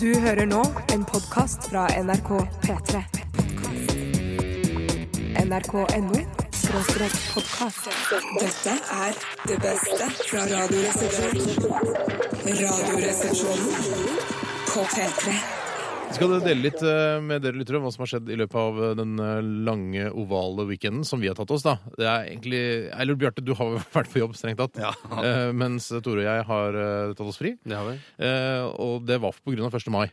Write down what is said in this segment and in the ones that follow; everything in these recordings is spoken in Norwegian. Du hører nå en podkast fra NRK P3. NRK.no skråstrek podkast. Dette er det beste fra Radioresepsjonen. Radioresepsjonen på P3. Skal dere dele litt eh, med dere lyttere om hva som har skjedd i løpet av eh, den eh, lange, ovale weekenden som vi har tatt oss, da? Det er egentlig Eller Bjarte, du har jo vært på jobb, strengt tatt. Ja. Eh, Mens Tore og jeg har eh, tatt oss fri. Det har vi. Eh, og det var på grunn av 1. mai.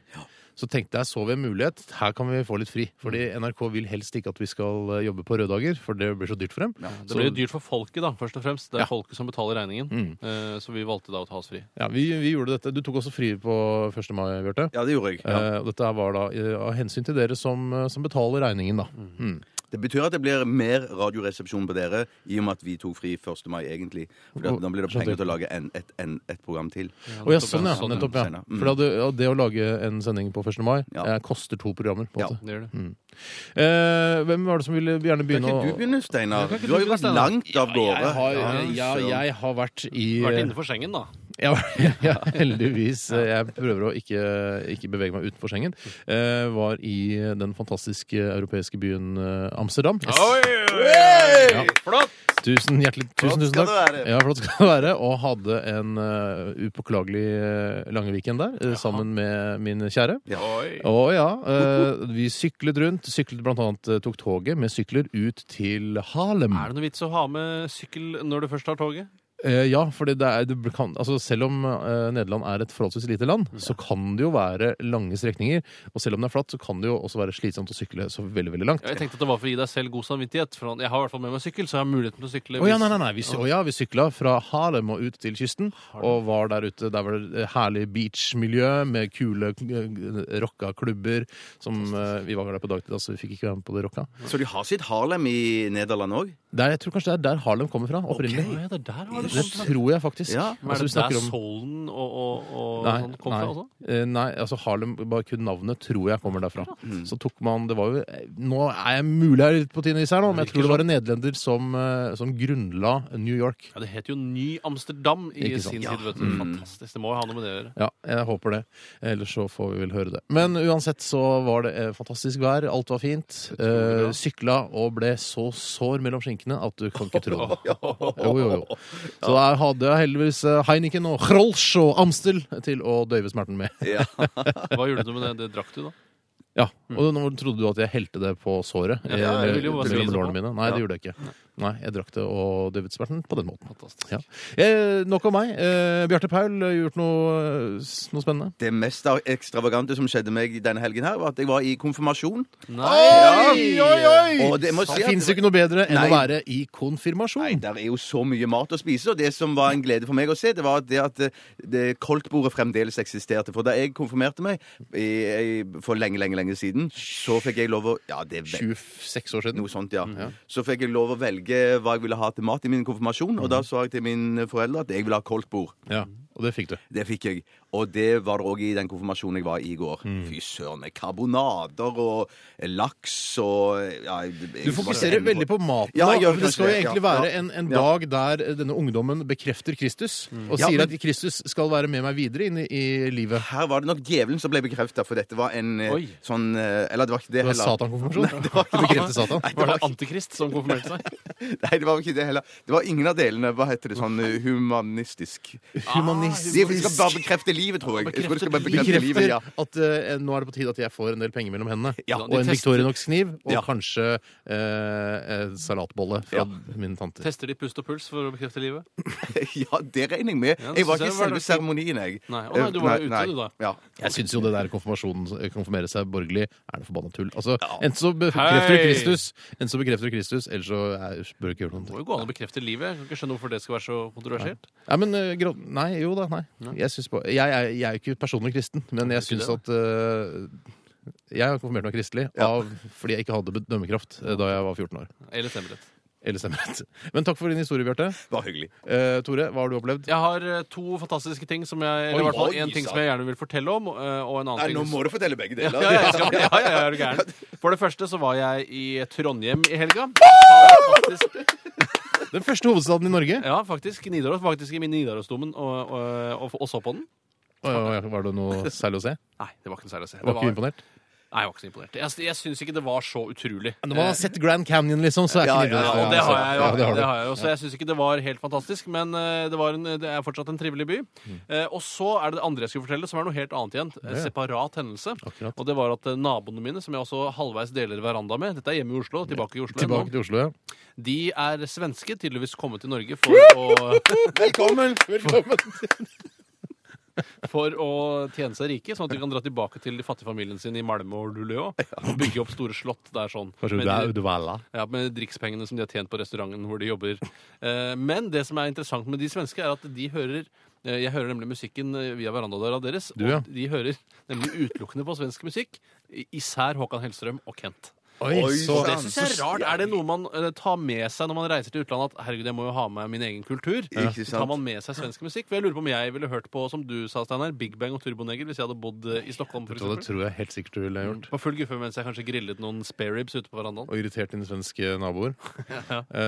Så tenkte jeg, så vi en mulighet. Her kan vi få litt fri. Fordi Mm. NRK vil helst ikke at vi skal eh, jobbe på røde dager, for det blir så dyrt for dem. Det Så- blir jo dyrt for folket, da, først og fremst. Det er Ja. Mm. folket som betaler regningen. Eh, Så vi valgte da å ta oss fri. Ja, vi, vi gjorde dette. Du tok også fri på 1. mai, Bjarte. Ja, det gjorde jeg. Eh, og dette her var da eh, av hensyn til dere som, eh, som betaler regningen, da. Mm. Det betyr at det blir mer radioresepsjon på dere i og med at vi tok fri 1. mai, egentlig. For da, da blir det penger til å lage en, et, en, et program til. Å ja, sånn, ja. Sånn, ja. Nettopp, ja. Senere. Mm. For det, ja, det å lage en sending på 1. mai Ja. eh, koster to programmer. på en Ja. måte. Mm. Det gjør det. Eh, hvem var det som ville gjerne Kan begynne? ikke du å- begynne, Steinar? kan ikke Du har du jo begynne, vært Steinar? langt av gårde. Jeg har, Ja, ja, søren. jeg har vært i eh, Vært innenfor sengen, da. Ja, ja, heldigvis. Jeg prøver å ikke, ikke bevege meg utenfor Schengen. Eh, var i den fantastiske europeiske byen eh, Amsterdam. Hey! Flott! Tusen hjertelig tusen, Flott tusen skal takk. det være. Ja, flott skal det være. Og hadde en eh, upåklagelig eh, lange weekend der eh, sammen med min kjære. Ja. Å ja. eh, vi syklet rundt. Syklet blant annet eh, tok toget med sykler ut til Harlem. Er det noe vits å ha med sykkel når du først tar toget? Eh, ja, for det er, det bl- kan, altså selv om eh, Nederland er et forholdsvis lite land, så kan det jo være lange strekninger. Og selv om det er flatt, så kan det jo også være slitsomt å sykle så veldig veldig langt. Ja, Jeg tenkte at det var for å gi deg selv god samvittighet. For jeg har i hvert fall med meg sykkel, så jeg har muligheten til å sykle. Å ja, hvis- nei, nei, nei. Vi, sy- å ja, vi sykla fra Harlem og ut til kysten, og var der ute. Der var det eh, herlig beachmiljø med kule eh, rocka klubber. Som, eh, vi var der på dagtid, da, så vi fikk ikke være med på det rocka. Så de har sitt Harlem i Nederland òg? Der, jeg tror kanskje det er der Harlem kommer fra, opprinnelig. Å, ja, det er der har du Det kommet fra. tror jeg faktisk. Ja, Men er Altså, vi det der snakker om- Soulen og, og, og Nei, sånn kom fra nei. også? Eh, nei, altså Harlem, bare kun navnet tror jeg kommer derfra. Mm. Så tok man Det var jo eh, Nå er jeg mulig jeg er litt på tynn is her, nå, men jeg Virker tror det var en nederlender som, eh, som grunnla New York. Ja, det het jo Ny Amsterdam i Ikke sant. sin Ja. Mm. tid, vet du. Fantastisk. Det må jo ha noe med det å gjøre. Ja, jeg håper det. Ellers så får vi vel høre det. Men uansett så var det eh, fantastisk vær. Alt var fint. Utrolig Eh, bra. sykla og ble så sår mellom skinkene at du kan ikke tro det. Jo, jo, jo. Så der hadde jeg heldigvis eh, Heineken og Hrolsch og Amstel til å døyve smerten med. Ja. Hva gjorde du med det? Det drakk du, da? Ja, Mm. og nå trodde du at jeg helte det på såret? Ja, jeg ville jo bare eh, mellom spise på. lårene mine. Nei, sånn. det Ja. gjorde jeg ikke. Nei, jeg drakk det og døvet smerten på den måten. Fantastisk. Ja. Eh, nok om meg. Eh, Bjarte Paul har gjort noe, eh, s- noe spennende. Det mest ekstravagante som skjedde meg denne helgen, her var at jeg var i konfirmasjon. Oi, oi, oi! Og det må jeg si Det at fins jo ikke noe bedre enn å Nei. være i Nei, konfirmasjon. der er jo så mye mat å spise, og det som var en glede for meg å se, det var det at eh, det koltbordet fremdeles eksisterte. For da jeg konfirmerte meg i, i, for lenge, lenge, lenge siden, så fikk jeg lov å Ja, det er ve- 26 år siden. Mm, noe sånt, ja. Så fikk jeg lov å velge hva jeg ville ha til mat i min konfirmasjon, Mhm. og da sa jeg til mine foreldre at jeg ville ha koltbord. Ja, og det fikk du. Det fikk jeg. Og det var det òg i den konfirmasjonen jeg var i i går. Mm. Fy søren, med karbonader og laks og ja, Du fokuserer veldig på maten. Ja, jeg da, gjør for det kanskje skal jo det, ja. egentlig være en, en Ja. Mm. dag der denne ungdommen bekrefter Kristus, og Ja, sier men- at Kristus skal være med meg videre inn i, i livet. Her var det nok djevelen som ble bekrefta, for dette var en eh, Oi. sånn eh, Eller det var ikke det Det var heller. satankonfirmasjon. Nei, det var ikke Bekrefter Satan. Var det Antikrist som konfirmerte seg? Nei, det var ikke det heller. Det var ingen av delene. Hva heter det? Sånn eh, humanistisk. Humanistisk. De skal bare bekrefte livet, tror jeg. jeg. tror de skal bare bekrefte bekrefter livet, ja. at eh, nå er det på tide at jeg får en del penger mellom hendene. Ja, og de en tester- Victorinox-kniv, og Ja. kanskje eh, eh, salatbolle fra Ja. min tante. Tester de pust og puls for å bekrefte livet? ja, det regner jeg med. Ja, Jeg var synes ikke i jeg var selve det- seremonien, jeg. Eh, Nei, å nei, du var jo ute, du da. Ja. Jeg syns jo det der konfirmasjonen, eh, konfirmere seg borgerlig, er noe forbanna tull. Altså, Enten så bekrefter du Hei! Kristus, enten så bekrefter du Kristus, eller så eh, bør du ikke gjøre Det noe. må jo gå an å bekrefte livet. Jeg kan ikke skjønne hvorfor det skal være så kontroversielt. Nei, men eh, grad- Nei, jo da, nei. Jeg, syns bare- jeg, er- jeg er jo ikke personlig kristen, men jeg ikke syns at eh, jeg har konfirmert meg kristelig av, fordi jeg ikke hadde bedømmekraft eh, da jeg var 14 år. Eller stemmerett. Eller stemmerett. Men takk for din historie, Bjarte. Bare hyggelig. Eh, Tore, hva har du opplevd? Jeg har eh, to fantastiske ting som jeg Eller i Oi, hvert fall oi, én ting sa- som jeg gjerne vil fortelle om, eh, og en annen Nei, ting nå må du fortelle begge deler. ja, ja, jeg skal, ja, ja, ja, er du gæren. For det første så var jeg i Trondheim i helga. Fantastisk. Den første hovedstaden i Norge. Ja, faktisk. Nidaros faktisk i min Nidarosdomen og, og, og, og så på den. Oi, oi, oi, Var det noe særlig å se? Nei, det var ikke noe særlig å se. Det Var ikke var, imponert? nei, jeg var ikke så imponert. Jeg, jeg syns ikke det var så utrolig. Når man har sett Grand Canyon, liksom, så er Ja, ikke ja, Eh, Ja, og det altså. har jeg jo. Ja, det har du. det har jeg jo så jeg syns ikke det var helt fantastisk, men eh, det, var en, det er fortsatt en trivelig by. Eh, og så er det det andre jeg skulle fortelle, som er noe helt annet igjen. En Mm. Ja, ja. separat hendelse. Akkurat. Og det var at eh, naboene mine, som jeg også halvveis deler veranda med Dette er hjemme i Oslo, tilbake i Oslo. Tilbake ennå. til Oslo, ja. De er svenske, tydeligvis kommet til Norge for å Velkommen! for å tjene seg rike, sånn at de kan dra tilbake til de fattige familien sin i Malmö og Luleå. Og bygge opp store slott der sånn. Kanskje Med, det er de- Uddevalla. ja, med drikkspengene som de har tjent på restauranten hvor de jobber. Eh, men det som er interessant med de svenske, er at de hører eh, jeg hører nemlig musikken eh, via verandadøra deres. Du, ja. Og de hører nemlig utelukkende på svensk musikk. i- Især Håkan Hellstrøm og Kent. Oi, Oi, så Og det sant. synes jeg er rart. Er det noe man eh, tar med seg når man reiser til utlandet? At herregud, jeg må jo ha med min egen kultur. Ikke Så sant. tar man med seg svensk musikk. For jeg lurer på om jeg ville hørt på, som du sa, Steinar, Big Bang og Turboneger hvis jeg hadde bodd eh, i Stockholm, for Så det eksempel. tror jeg helt sikkert du ville gjort. På full guffe mens jeg kanskje grillet noen spareribs ute på verandaen. Og irritert dine svenske naboer. Eh,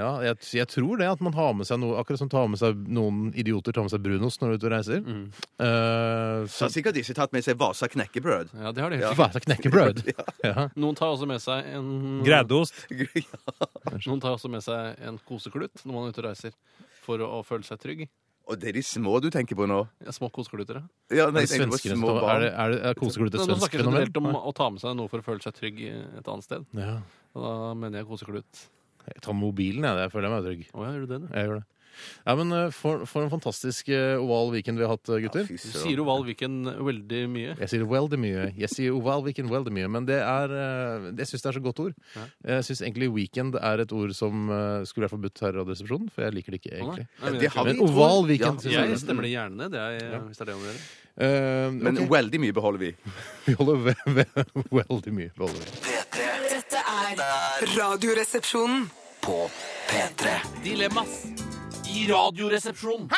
ja, jeg, jeg tror det at man har med seg noe Akkurat som tar med seg noen idioter tar med seg brunost når du er ute og reiser. Mm. Eh, Så så har sikkert disse tatt med seg Vasa knekkebrød. Ja, det har de. Ja. Hva er det, knekkebrød? Ja. Noen tar også med seg en Greddeost. Noen tar også med seg en koseklut når man er ute og reiser, for å, å føle seg trygg. Og det er de små du tenker på nå. Ja, Små kosekluter, ja. Ja, nei, Er jeg det tenker på svenskere som små står- Er barn. det, er det, er koseklutt et Nå svensk snakker jeg generelt om fenomen? å ta med seg noe for å føle seg trygg eh, et annet sted. Ja. Og da mener jeg koseklut. Jeg tar mobilen, jeg. Jeg føler meg trygg. Å ja, gjør du det, du? Jeg gjør det. Ja, men eh, for, for en fantastisk eh, oval weekend vi har hatt, eh, Ja, gutter. fy Du søren. sier oval Viken veldig mye. Jeg sier veldig mye. Jeg sier oval weekend veldig mye, men det er eh, Jeg syns det er så godt ord. Jeg syns egentlig weekend er et ord som eh, skulle vært forbudt her i Radioresepsjonen, for jeg liker det ikke Å, nei. egentlig. Nei, men Det jeg- har vi, Men oval tror- weekend, Ja, synes Jeg jeg. stemmer det gjerne ned, det er, hvis det er det om å gjøre. Eh, Ehm, Men ok. veldig mye beholder vi. Vi holder ve ve veldig mye. Vi holder mye. Dette er Radioresepsjonen. Dilemmas i Radioresepsjonen!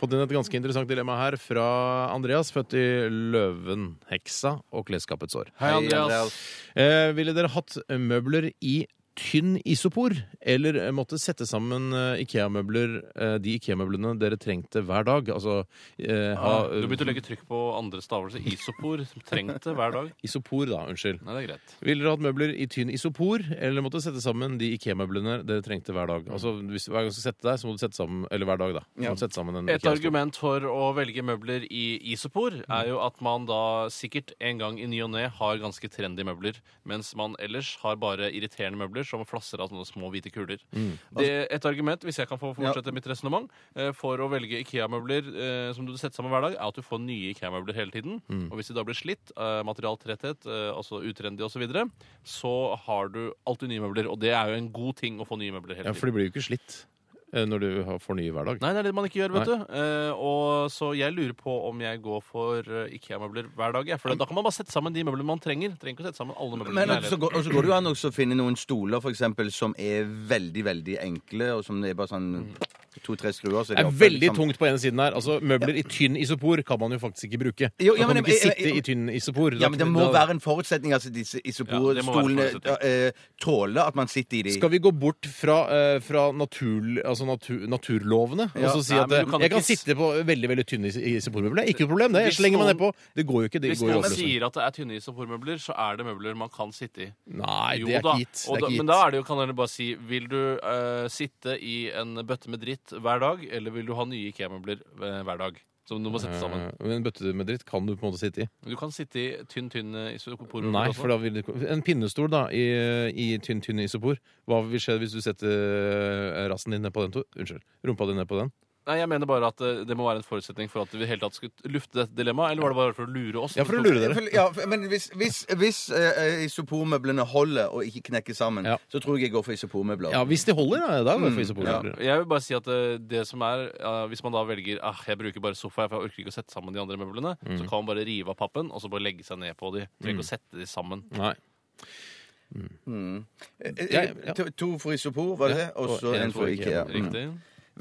Fått inn et ganske interessant dilemma her fra Andreas, født i Løven, heksa og klesskapets år. Hei, Andreas. Andreas. Eh, ville dere hatt møbler i tynn isopor, eller måtte sette sammen eh, IKEA-møbler, eh, de IKEA-møblene dere trengte hver dag? Altså eh, ha Ah, du eh, begynte å legge trykk på andre stavelser. Isopor. som Trengte hver dag. isopor, da. Unnskyld. Nei, det er greit. Ville dere hatt møbler i tynn isopor, eller måtte sette sammen de IKEA-møblene dere trengte hver dag? Altså hvis hver gang du skal sette deg, så må du sette sammen Eller hver dag, da. Så Må du sette sammen en Et IKEA-stol. argument for å velge møbler i isopor er jo at man da sikkert en gang i ny og ne har ganske trendy møbler, mens man ellers har bare irriterende møbler som flasser av sånne små hvite kuler. Mm. Det er et argument, hvis jeg kan Altså, få fortsette mitt resonnement, eh, for å velge IKEA-møbler eh, som du setter sammen hver dag, er at du får nye IKEA-møbler hele tiden. Mm. Og hvis de da blir slitt, eh, materialtretthet, eh, altså utrendy osv., så, videre, så har du alltid nye møbler. Og det er jo en god ting å få nye møbler hele Ja, tiden. for de blir jo ikke slitt eh, når du har- får nye hver dag. Nei, det er det man ikke gjør, vet du. Eh, og Så jeg lurer på om jeg går for eh, IKEA-møbler hver dag. jeg. For da kan man bare sette sammen de møblene man trenger. Trenger ikke å sette sammen alle møblene Men i at- så leiligheten. går, og så går det jo an også å finne noen stoler for eksempel, som er veldig, veldig enkle, og som det er bare sånn to-tre skruer. Så Det de er oppe, veldig liksom. tungt på ene siden her. Altså, Møbler i tynn isopor kan man jo faktisk ikke bruke. Jo, ja, man men- kan ikke jeg- jeg- sitte i tynn isopor. Ja, men Det Da- må da- være en forutsetning. altså Disse Ja, det må være en isoporstolene forutsetning. eh, tåler at man sitter i de. Skal vi gå bort fra, eh, fra natur, altså natu- naturlovene Ja. og så si Nei, at men eh, du kan jeg ikke kan s- sitte på veldig veldig tynne is- isopormøbler. Det er ikke noe problem, det. Jeg Hvis slenger meg noen- nedpå. Det går jo ikke. Det Hvis går altså. jo noen oppløsning. sier at det er tynne isopormøbler, så er det møbler man kan sitte i. Nei, Jo det er da. ikke gitt. Og Det er da- ikke Men da gitt. er det jo, kan dere bare si Vil du eh, sitte i en bøtte med dritt hver dag, eller vil du ha nye IKEA-møbler eh, hver dag? Som du må sette sammen. Eh, Men en bøtte med dritt kan du på en måte sitte i. Du kan sitte i tynn, tynn eh, isopormøbler Nei, også. for da vil det En pinnestol da i, i tynn, tynn isopor. Hva vil skje hvis du setter rassen din ned på den? to- Unnskyld. Rumpa di ned på den? Nei, jeg mener bare at eh, det må være en forutsetning for at vi i det hele tatt skulle lufte dette dilemmaet. Eller var det bare for å lure oss? Ja, for å lure dere. Ja, for- men hvis, hvis, hvis eh, isopormøblene holder og ikke knekker sammen, Ja. så tror jeg jeg går for isopormøbler. Ja, hvis de holder, da. Da Mm. går jeg for isopormøbler. Jeg vil bare si at eh, det som er eh, Hvis man da velger ah, jeg bruker bare sofa, for jeg orker ikke å sette sammen de andre møblene, Mm. så kan man bare rive av pappen og så bare legge seg ned på de. Trenger ikke å sette de sammen. Nei. Eh, eh, Ja, ja. Mm. To, to for isopor, var det det? Og så og en en for for IKEA. IKEA. Mm. Riktig.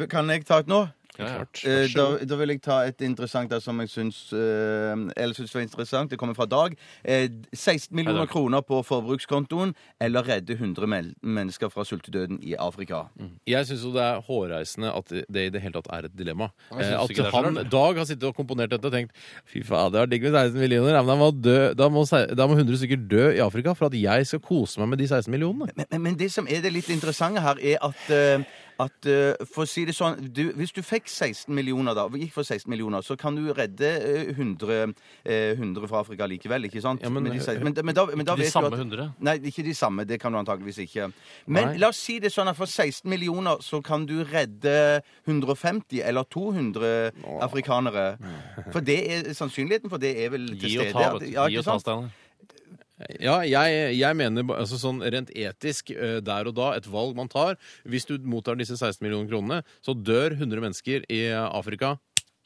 Kan jeg ta et nå? Ja, ja. Eh, Da, da vil jeg ta et interessant der som jeg syns, eh, eller syns var interessant. Det kommer fra Dag. Eh, 16 millioner Dag. kroner på forbrukskontoen eller redde 100 men mennesker fra sultedøden i Afrika. Jeg syns jo det er hårreisende at det i det hele tatt er et dilemma. jeg Eh, synes At ikke det er så han rart, det. Dag har sittet og komponert dette og tenkt fy faen, det er digg med 16 millioner, ja, men da må, dø, da, må, se- da må 100 stykker dø i Afrika for at jeg skal kose meg med de 16 millionene. Men, men, men det som er det litt interessante her, er at, eh, at eh, For å si det sånn du, Hvis du fikk 16 millioner, da, gikk for 16 millioner, så kan du redde eh, 100, eh, 100 fra Afrika likevel, ikke sant? Ja, men- Med de 16 men, men da, men da Ikke de vet du samme at- 100? Nei, ikke de samme. Det kan du antageligvis ikke. Men Nei. la oss si det sånn at for 16 millioner så kan du redde 150 eller 200 afrikanere. For det er sannsynligheten for det er vel til Gi og stede. ta, at- vet du. ja, Gi ikke og ta, sant? Steinar. Ja, jeg, jeg mener ba- altså sånn rent etisk eh, der og da, et valg man tar Hvis du mottar disse 16 millioner kronene, så dør 100 mennesker i eh, Afrika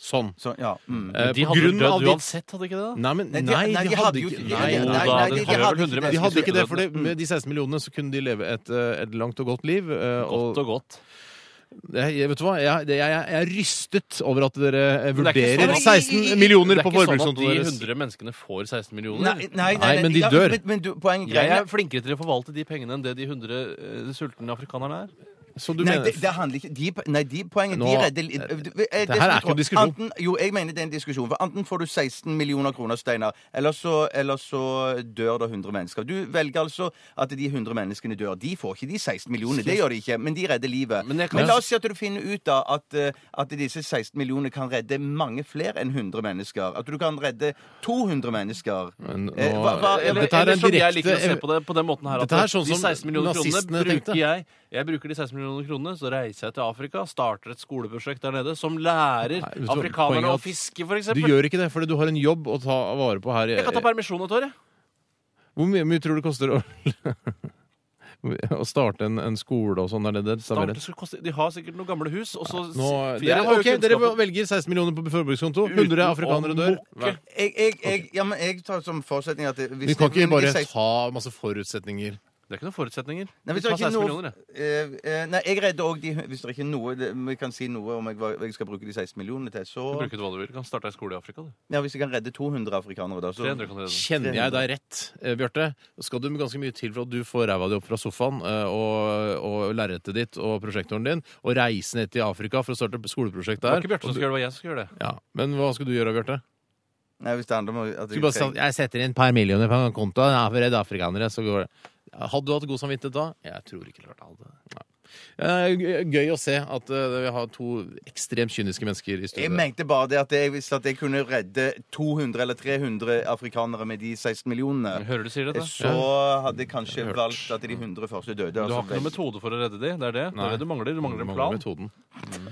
sånn. Så, ja, mm. Eh, De på hadde grunn dødd av de- uansett, hadde ikke det? da? Nei, men Nei, nei, de- nei, de hadde jo- de- ikke nei, Nei, nei, da nei. nei, hadde de- de de vel hadde 100 ikke De det. hadde ikke det, skulle for det- med de 16 millionene så kunne de leve et, eh, et langt og godt liv. eh, og- Godt og godt. Jeg, jeg- vet du hva? Jeg, det- jeg, jeg, jeg er rystet over at dere eh, Men det er ikke vurderer sånn at- 16 millioner Det er på ikke sånn at forbrukskontoen de deres. 100 menneskene får 16 millioner. Nei, nei, Nei, men de ja, dør. Men, men du, poenget Jeg greia- er flinkere til å forvalte de pengene enn det de 100 eh, sultne afrikanerne er. Så du nei, mener det, det handler ikke de, Nei, de poenget Nå- de redder li- eh, du- eh, her som jeg er ikke en tror, diskusjon. Enten, jo, jeg mener det er en diskusjon. For enten får du 16 millioner kroner, Steinar, eller så, eller så dør det 100 mennesker. Du velger altså at de 100 menneskene dør. De får ikke de 16 millionene, det gjør de ikke, men de redder livet. Men Men, jeg kan- la oss si at du finner ut da at, eh, at disse 16 millionene kan redde mange flere enn 100 mennesker. At du kan redde 200 mennesker. Men nå- Eh, hva- hva- Ja, Eller, dette her er eller som en jeg liker å se direkte- på det på den måten her at Dette her er sånn de som 16 millioner nazistene kronene tenkte. bruker jeg. Jeg bruker de 16 millioner kronene, så reiser jeg til Afrika, starter et skoleprosjekt der nede som lærer Nei, vet du hva, poenget er afrikanerne at å fiske, for Du eksempel. gjør ikke det, fordi du har en jobb å ta vare på her. Jeg kan ta permisjon et år, jeg. Hvor mye, mye tror du det koster å, å starte en, en skole og sånn der nede? Starter- skulle koste- De har sikkert noen gamle hus, og så Nå, det Flere er, har jo ok, dere kunnskapen. velger 16 millioner på forbrukskonto. 100 Uten å afrikanere dør. mukke. Jeg, jeg, jeg, ja, men jeg tar som forutsetning at det- hvis Vi kan det- ikke men bare 16 ta masse forutsetninger. Det er ikke noen forutsetninger. Nei, hvis Vi det tar ikke er 16 noe, millioner, jeg. Eh, eh, nei, jeg redder òg de Hvis det ikke er noe det- Vi kan si noe om jeg, hva jeg skal bruke de 16 millionene til, Du så bruker hva du vil. Du kan starte ei skole i Afrika, du. ja, Hvis jeg kan redde 200 afrikanere, da, så 300 kan du redde. Kjenner jeg deg rett, eh, Bjarte, skal du ganske mye til for at du får ræva di opp fra sofaen eh, og, og lerretet ditt og prosjektoren din, og reise ned til Afrika for å starte skoleprosjekt Det var der? ikke Bjarte som Og du- skulle gjøre det, det var jeg som skulle gjøre det. ja. Men hva skal du gjøre, Bjarte? Nei, hvis det handler om at Skal du bare si trenger- at jeg setter inn et par millioner på kontoen ja, for å redde afrikanere, så går det. Hadde du hatt god samvittighet da? Jeg tror ikke klart jeg hadde det. Eh, Gøy å se at eh, vi har to ekstremt kyniske mennesker i Jeg studio. mente bare det at jeg, hvis at jeg kunne redde 200 eller 300 afrikanere med de 16 millionene, Hører du sier dette? så hadde jeg kanskje valgt at de 100 første døde. Du altså har ikke noen vel- metode for å redde de, det er det. Det Nei. er det du mangler. Du mangler en Mangler plan. metoden.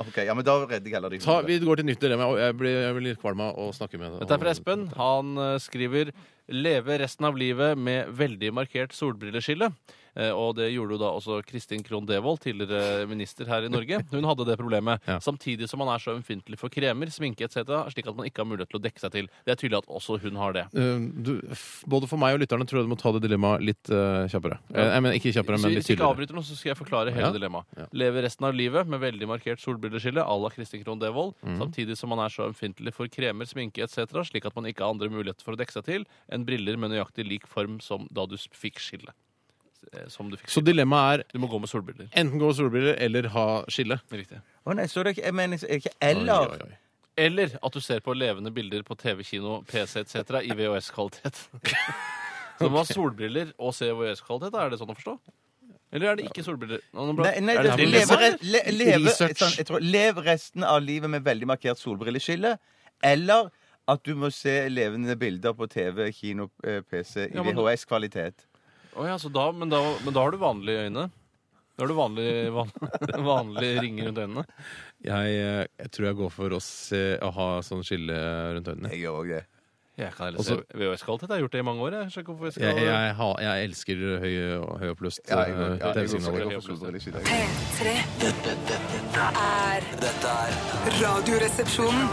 Ok, ja, men da redder jeg heller de Ta, 100. vi går til nytt dilemma. og Jeg blir, jeg blir litt kvalm av å snakke med Dette er fra Espen. Han eh, skriver Leve resten av livet med veldig markert solbrilleskille. Eh, Og det gjorde jo da også Kristin Krohn Devold, tidligere minister her i Norge. Hun hadde det problemet. Ja. Samtidig som man er så ømfintlig for kremer, sminke etc., slik at man ikke har mulighet til å dekke seg til. Det er tydelig at også hun har det. Eh, du, f- både for meg og lytterne tror jeg du må ta det dilemmaet litt eh, kjappere. Eh, jeg mener, ikke kjappere, Så men litt hvis du ikke tydeligere. avbryter nå, så skal jeg forklare Ja. hele dilemmaet. Ja. Leve resten av livet med veldig markert solbrilleskille à la Kristin Krohn Devold, Mhm. samtidig som man er så ømfintlig for kremer, sminke etc., slik at man ikke har andre muligheter for å dekke seg til enn briller med nøyaktig lik form som da du s- fikk skille. Eh, Som du fikk Så skille. dilemmaet er Du må gå med solbriller. enten gå med solbriller eller ha skille. Riktig. Å nei, så det er ikke, jeg mener ikke Eller Oi, oi, oi. Eller at du ser på levende bilder på TV, kino, PC etc. i VHS-kvalitet. Så du må ha solbriller og se VHS-kvalitet, da, er det sånn å forstå? Eller er det ikke solbriller? Nå- nå ble- Nei, nei Er det, liksom? det lev, dilemma, eller? re- le, leve, Research. sånn, jeg tror, lev resten av livet med veldig markert solbrilleskille. Eller at du må se levende bilder på TV, kino, eh, PC i Ja, men- VHS-kvalitet. Å ja, så da, men, da, men da har du vanlige øyne? Da har du vanlig, van, vanlig ringer rundt øynene? Jeg, eh, jeg tror jeg går for å, se, å ha sånn skille rundt øynene. Jeg gjør òg det. Jeg kan heller Også- se VHS-kvalitet. Jeg har gjort det i mange år. Jeg, skjønner ikke hvorfor jeg, Jeg, skal, jeg, ha- jeg elsker høy, høyoppløst Ja, jeg går- ja, eh, jeg går for- TV-signaler. jeg går for solbrilleskille. P3. Dette er Radioresepsjonen.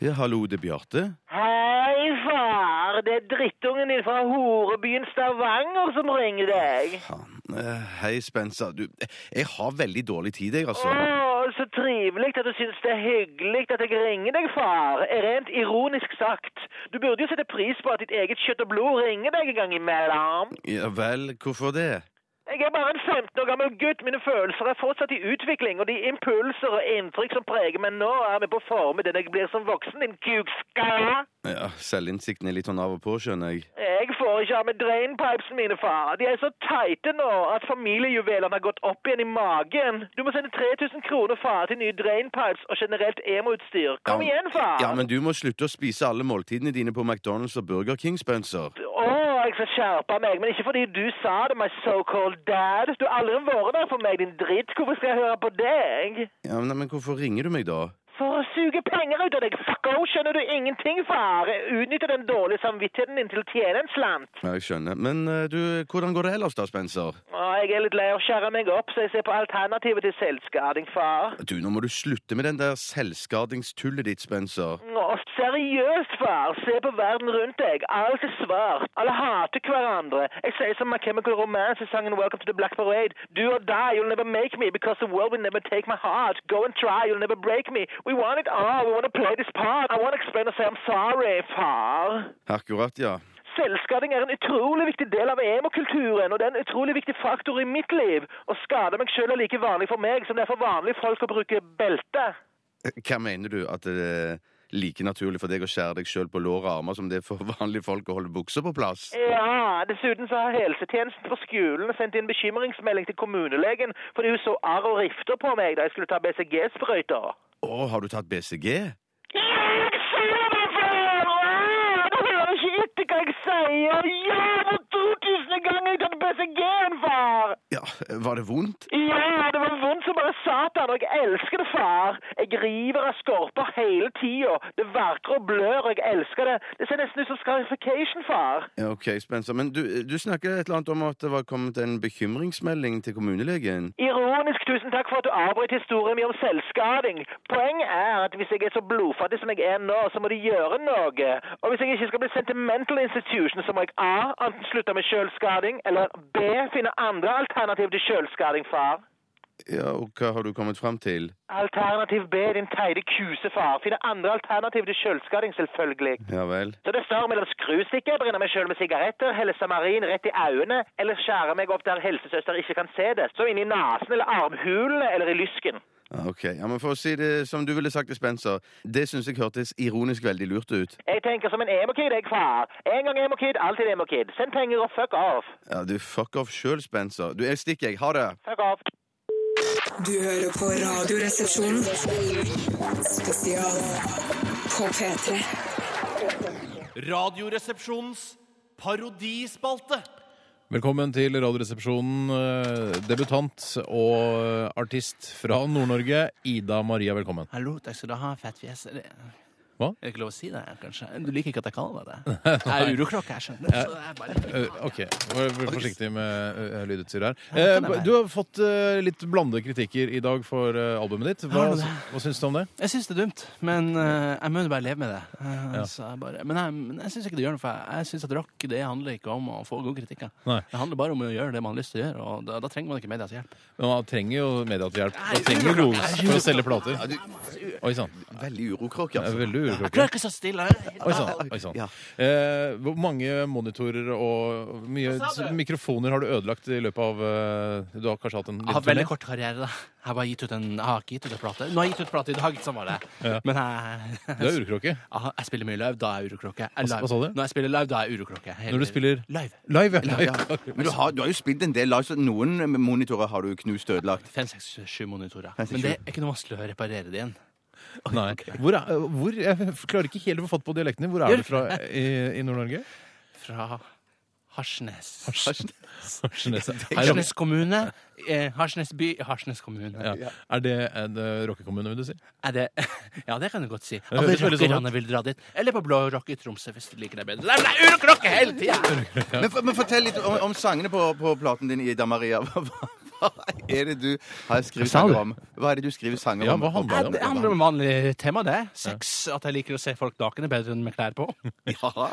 Ja, hallo, det er Bjarte. Hei, far. Det er drittungen din fra horebyen Stavanger som ringer deg. Faen, Eh, Hei, Spencer. Du, eh, jeg har veldig dårlig tid, jeg, altså. Å, så trivelig at du synes det er hyggelig at jeg ringer deg, far. Rent ironisk sagt. Du burde jo sette pris på at ditt eget kjøtt og blod ringer deg en gang imellom. Ja vel, hvorfor det? Jeg er bare en 15 år gammel gutt. Mine følelser er fortsatt i utvikling, og de impulser og inntrykk som preger meg nå, er med på å forme den jeg blir som voksen, din kukskalla. Ja, Selvinnsikten er litt sånn av og på, skjønner jeg. Jeg får ikke av med drainpipesene mine, far. De er så teite nå at familiejuvelene har gått opp igjen i magen. Du må sende 3000 kroner, far, til nye drainpipes og generelt emo-utstyr. Kom Ja, igjen, far! Ja, men du må slutte å spise alle måltidene dine på McDonald's og Burger King, Spencer. Å, jeg skal skjerpe meg, men ikke fordi du sa det, my so-called dad. Du har aldri vært der for meg, din dritt. Hvorfor skal jeg høre på deg? Ja, men, men hvorfor ringer du meg da? For å suge penger ut av deg, fucko! Skjønner du ingenting, far? Utnytter den dårlige samvittigheten din til å tjene en slant. Ja, jeg skjønner. Men eh, du, hvordan går det ellers da, Spencer? Å, jeg er litt lei av å skjære meg opp, så jeg ser på alternativet til selvskading, far. Du, nå må du slutte med den der selvskadingstullet ditt, Spencer. Å, seriøst, far. Se på verden rundt deg. Alt er svart. Alle hater hverandre. Jeg sier som My Chemical Romance i sangen Welcome to the Black Parade. Do or die, you'll never make me, because the world will never take my heart. Go and try, you'll never break me. We want it all, we want to play this part. I want to explain and say I'm sorry, far. Akkurat, ja. Selvskading er en utrolig viktig del av emo-kulturen, og det er en utrolig viktig faktor i mitt liv. Å skade meg sjøl er like vanlig for meg som det er for vanlige folk å bruke belte. Eh, Hva mener du? At det er like naturlig for deg å skjære deg sjøl på lår og armer som det er for vanlige folk å holde bukser på plass? Ja, dessuten så har helsetjenesten på skolen sendt inn bekymringsmelding til kommunelegen fordi hun så arr og rifter på meg da jeg skulle ta BCG-sprøyter. Å, har du tatt BCG? Jeg sier det før! Du hører ikke etter hva jeg sier! Ja, for 2000 ganger har jeg tatt BCG-en, far! Ja, var det vondt? Ja, det var vondt som bare satan, og jeg elsker det, far. Jeg river av skorper hele tida. Det verker og blør, og jeg elsker det. Det ser nesten ut som scarification, far. Ja, ok, Spencer. Men du, du snakker et eller annet om at det var kommet en bekymringsmelding til kommunelegen. Ironisk, tusen takk for at du avbrøt historien min om selvskading. Poenget er at hvis jeg er så blodfattig som jeg er nå, så må de gjøre noe. Og hvis jeg ikke skal bli sentimental institution, så må jeg A. Enten slutte med selvskading, eller B. Finne andre alternativ til selvskading, far. Ja, og hva har du kommet fram til? Alternativ B, din teide kusefar. Finne andre alternativ til selvskading, selvfølgelig. Ja vel. Så det står mellom skrustikker, brenne meg sjøl med sigaretter, helle samarin rett i øynene, eller skjære meg opp der helsesøster ikke kan se det, som inni nesen eller armhulene eller i lysken. Ja, Ah, Ok, ja, men For å si det som du ville sagt til Spencer, det syns jeg hørtes ironisk veldig lurt ut. Jeg tenker som en emo-kid, jeg, far. En gang emo-kid, alltid emo-kid. Send penger og fuck off. Ja, Du fuck off sjøl, Spencer. Du, jeg stikker, jeg. Ha det. Fuck off. Du hører på Radioresepsjonen. Spesial på P3. Radioresepsjonens parodispalte. Velkommen til Radioresepsjonen. eh, Debutant og eh, artist fra Nord-Norge, Ida Maria. Velkommen. Hallo, takk skal du ha, fettfjes. Er det- Hva? Er det ikke lov å si det, kanskje? Du liker ikke at jeg kaller deg det? Jeg er uroklokke, jeg skjønner. Så jeg bare... Eh, OK. Vær vær forsiktig med eh, lydutstyr her. Eh, Du har fått eh, litt blandede kritikker i dag for eh, albumet ditt. Hva, Har du det? hva syns du om det? Jeg syns det er dumt, men eh, jeg må jo bare leve med det. Eh, så jeg bare, men jeg, men jeg syns ikke det gjør noe, for jeg, jeg syns at rock det handler ikke om å få gode kritikker. Nei. Det handler bare om å gjøre det man har lyst til å gjøre, og da, da trenger man ikke medias hjelp. Men Man trenger jo media til hjelp. Man trenger jo ros for å selge plater. Oi sann. Veldig urokrok, Det er altså. Veldig Jeg uroklokke. klarer ikke å stå stille! Oi sann. Oi, sann. Ja. Eh, hvor mange monitorer og hvor mye mikrofoner har du ødelagt i løpet av eh, Du har kanskje hatt en Jeg har liten hatt veldig turné? kort karriere. da. Jeg har, bare gitt ut en, jeg har ikke gitt ut en plate. Nå har jeg gitt ut plate i dag, sånn var det. Men jeg, Du er urokråke. Aha, jeg spiller mye live, da er jeg uroklokke. Jeg er Hva- live. hva sa du? Når jeg spiller live, da er jeg uroklokke. Hele Når du livet. spiller- Live. Live, ja. Ja. Men du har, du har jo spilt en del live, så noen monitorer har du knust og ødelagt. Fem, seks, sju monitorer. Fem, seks, Men det sju. er ikke noe vanskelig å reparere det igjen. Nei. Hvor, er, hvor Jeg klarer ikke helt å få fatt på dialekten din. Hvor er du fra i, i Nord-Norge? Fra Harsnes. Harsnes. Er, Harsnes kommune. eh, Harsnes by. Harsnes kommune. ja. er det en eh, rockekommune, vil du si? Er det Ja, det kan du godt si. At høres veldig sånn rockerne vil dra dit. Eller på Blå Rock i Tromsø, hvis du liker det bedre. Nei, nei, uroklokke hele tida! Men, for- men fortell litt om, om sangene på, på platen din, Ida Maria. Hva, hva hva er det du har skrevet Sa du? sanger om? Hva er det du skriver sanger Ja, om? hva handler Det handler om vanlig tema, det. Sex. At jeg liker å se folk nakne bedre enn med klær på. Ja.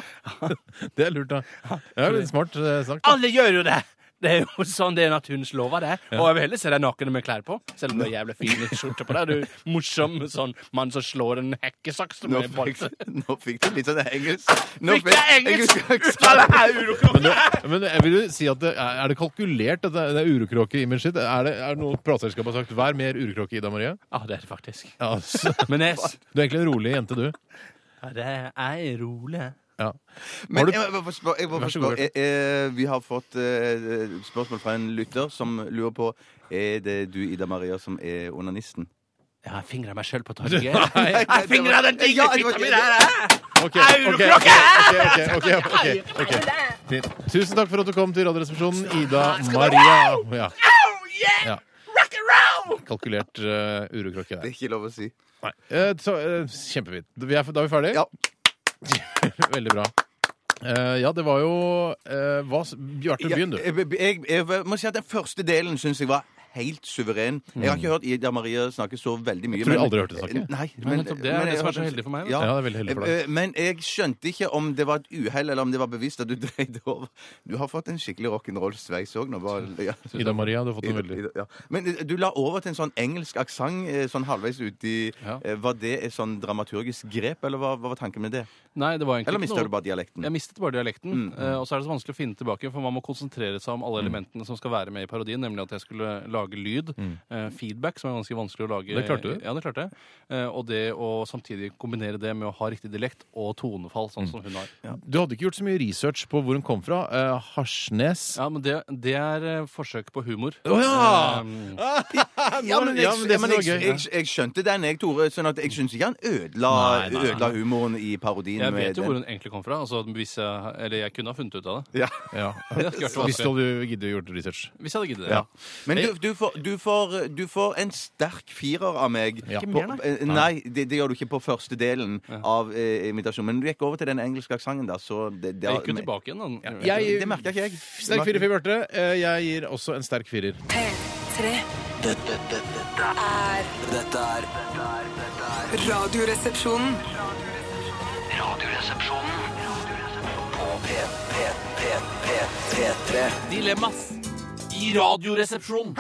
Det er lurt, da. Ja, det er litt smart eh, sagt. da. Alle gjør jo det! Det er jo sånn, det er naturens lover, det. Og jeg vil heller se deg naken med klær på, selv om du har jævlig fin skjorte på deg. Du er morsom sånn mann som slår en hekkesaks Nå med en fikk, bolse. nå fikk du litt sånn engelsk. Nå Fikk jeg engelsk? engelsk. Men, det, men jeg vil jo si at det, er er det kalkulert, dette det er urokråke-imaget sitt? Er det, er det noe plateselskapet har sagt 'vær mer urokråke, Ida Marie'? Ja, det er det faktisk. Ja, altså. Men jeg, s- Du er egentlig en rolig jente, du. ja, det er, jeg er rolig. Ja. Har Men du- jeg må bare spørre, jeg må Vær bare så god, spørre eh, eh, Vi har fått eh, spørsmål fra en lytter som lurer på Er det du, Ida Maria, som er onanisten. Jeg har fingra meg sjøl på torget. Nei. Jeg fingra den Ja, digre det var- fitta mi der! jeg. Ok, ok, ok, ok, ok, ok, ok. Fint. Tusen takk for at du kom til Radioresepsjonen, Ida Maria. Ja, Oh, yeah! ja. Rock and roll! Kalkulert uh, Det urokråke der. er ikke lov å si. Nei. Eh, så, eh, kjempefint. Vi er, da er vi ferdige? Ja. Veldig bra. Eh, ja, det var jo eh, hva, s- Bjarte, begynn, du. Jeg, jeg, jeg, jeg må si at den første delen syns jeg var helt suveren. Jeg har ikke hørt Ida Maria snakke så veldig mye. Jeg tror jeg men- aldri hørte det snakke. Nei, Nei, nettopp, det er det jeg som er så hørte- heldig for meg, da. Ja. Ja, det er veldig heldig for deg. Eh, Men jeg skjønte ikke om det var et uhell, eller om det var bevisst at du dreide over. Du har fått en skikkelig rock'n'roll-sveis òg nå. bare- Ja. Ida Maria, du har fått en veldig Ja. Men eh, du la over til en sånn engelsk aksent eh, sånn halvveis uti Ja. eh, Var det et sånn dramaturgisk grep, eller hva, hva var tanken med det? Nei, det var egentlig Eller ikke mista noe- du bare dialekten? Jeg mistet bare dialekten. Mm, eh, Og så er det så vanskelig å finne tilbake, for man må konsentrere seg om alle elementene som skal være med i parodien, nemlig at jeg skulle lage lyd, eh, feedback, som er ganske vanskelig å lage. Det klarte du. Ja, det klarte jeg. Eh, Og det å samtidig kombinere det med å ha riktig dialekt og tonefall, Mm. sånn som hun har. Du hadde ikke gjort så mye research på hvor hun kom fra. Eh, Harsnes. Ja, men det, det er eh, forsøk på humor. Å ja! Um, Ja, men jeg, Ah, Ja, men det ja, men synes jeg, jeg var gøy. jeg, jeg skjønte den, jeg, Tore. Sånn at jeg syns ikke han ødela, Nei, nei, nei. ødela humoren i parodien. jeg vet jo hvor den. hun egentlig kom fra. Altså, hvis jeg, eller jeg kunne ha funnet ut av det. Ja. ja. Det skulle vært Hvis du vanskelig. hadde giddet å gjøre research. Hvis jeg hadde giddet det. Ja. Men du, du, får, du, får, du får en sterk firer av meg. Ja. Ikke På, mer, eh, nei, det, det gjør du ikke på første delen av eh, imitasjonen. Men du gikk over til den engelske aksenten der, så det, det, Jeg gikk jo tilbake igjen. da. Jeg- det merker ikke jeg. Sterk firer for Bjarte. Eh, Jeg gir også en sterk firer. P3 Dette, dette, dette, er dette er dette er- dette er Radioresepsjonen. Radioresepsjonen på P, P, P, P, P3. Dilemmas i Radioresepsjonen.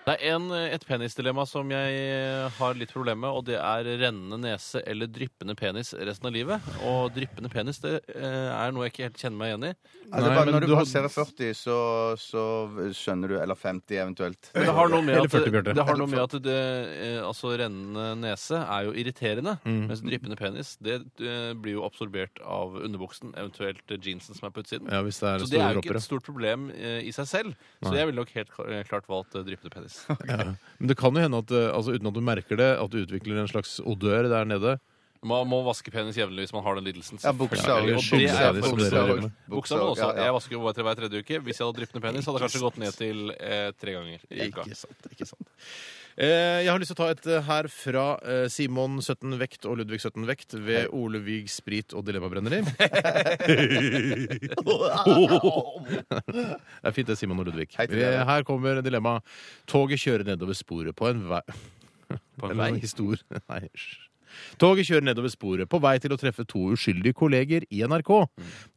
Det er en, eh, et penisdilemma som jeg eh, har litt problemer med, og det er rennende nese eller dryppende penis resten av livet. Og dryppende penis det eh, er noe jeg ikke helt kjenner meg igjen i. Altså, Nei, bare men når du du passerer 40, så, så skjønner du Eller 50, eventuelt. Men det har noe med Eller at, 40, Bjarte. det, har noe med at det, eh, altså, rennende nese er jo irriterende, Mm. mens dryppende penis det eh, blir jo absorbert av underbuksen, eventuelt eh, jeansen som er på utsiden. Ja, hvis det er Så det store er jo ikke dropper. et stort problem eh, i seg selv. Så jeg ville nok helt kla- klart valgt eh, dryppende penis. Ja. Men det kan jo hende at eh, altså, uten at du merker det, at du utvikler en slags odør der nede. Man må vaske penis jevnlig hvis man har den lidelsen. Ja, buksa selvfølgelig. Og og- det skyldes er jeg det som buksa og- dere driver med. Buksa må også. Ja, ja. Jeg vasker jo bare tre hver tredje uke. Hvis jeg hadde dryppende penis, hadde jeg kanskje gått ned til eh, tre ganger i uka. Ikke sant, ikke sant. Eh, jeg har lyst til å ta et eh, her fra eh, Simon 17 Vekt og Ludvig 17 Vekt ved Ole Vig Sprit og Dilemmabrenneri. det er fint, det, Simon og Ludvig. Hei til Vi- dere. Her kommer dilemmaet. Toget kjører nedover sporet på en vei På en vei? Histor... Nei, hysj. Toget kjører nedover sporet, på vei til å treffe to uskyldige kolleger i NRK.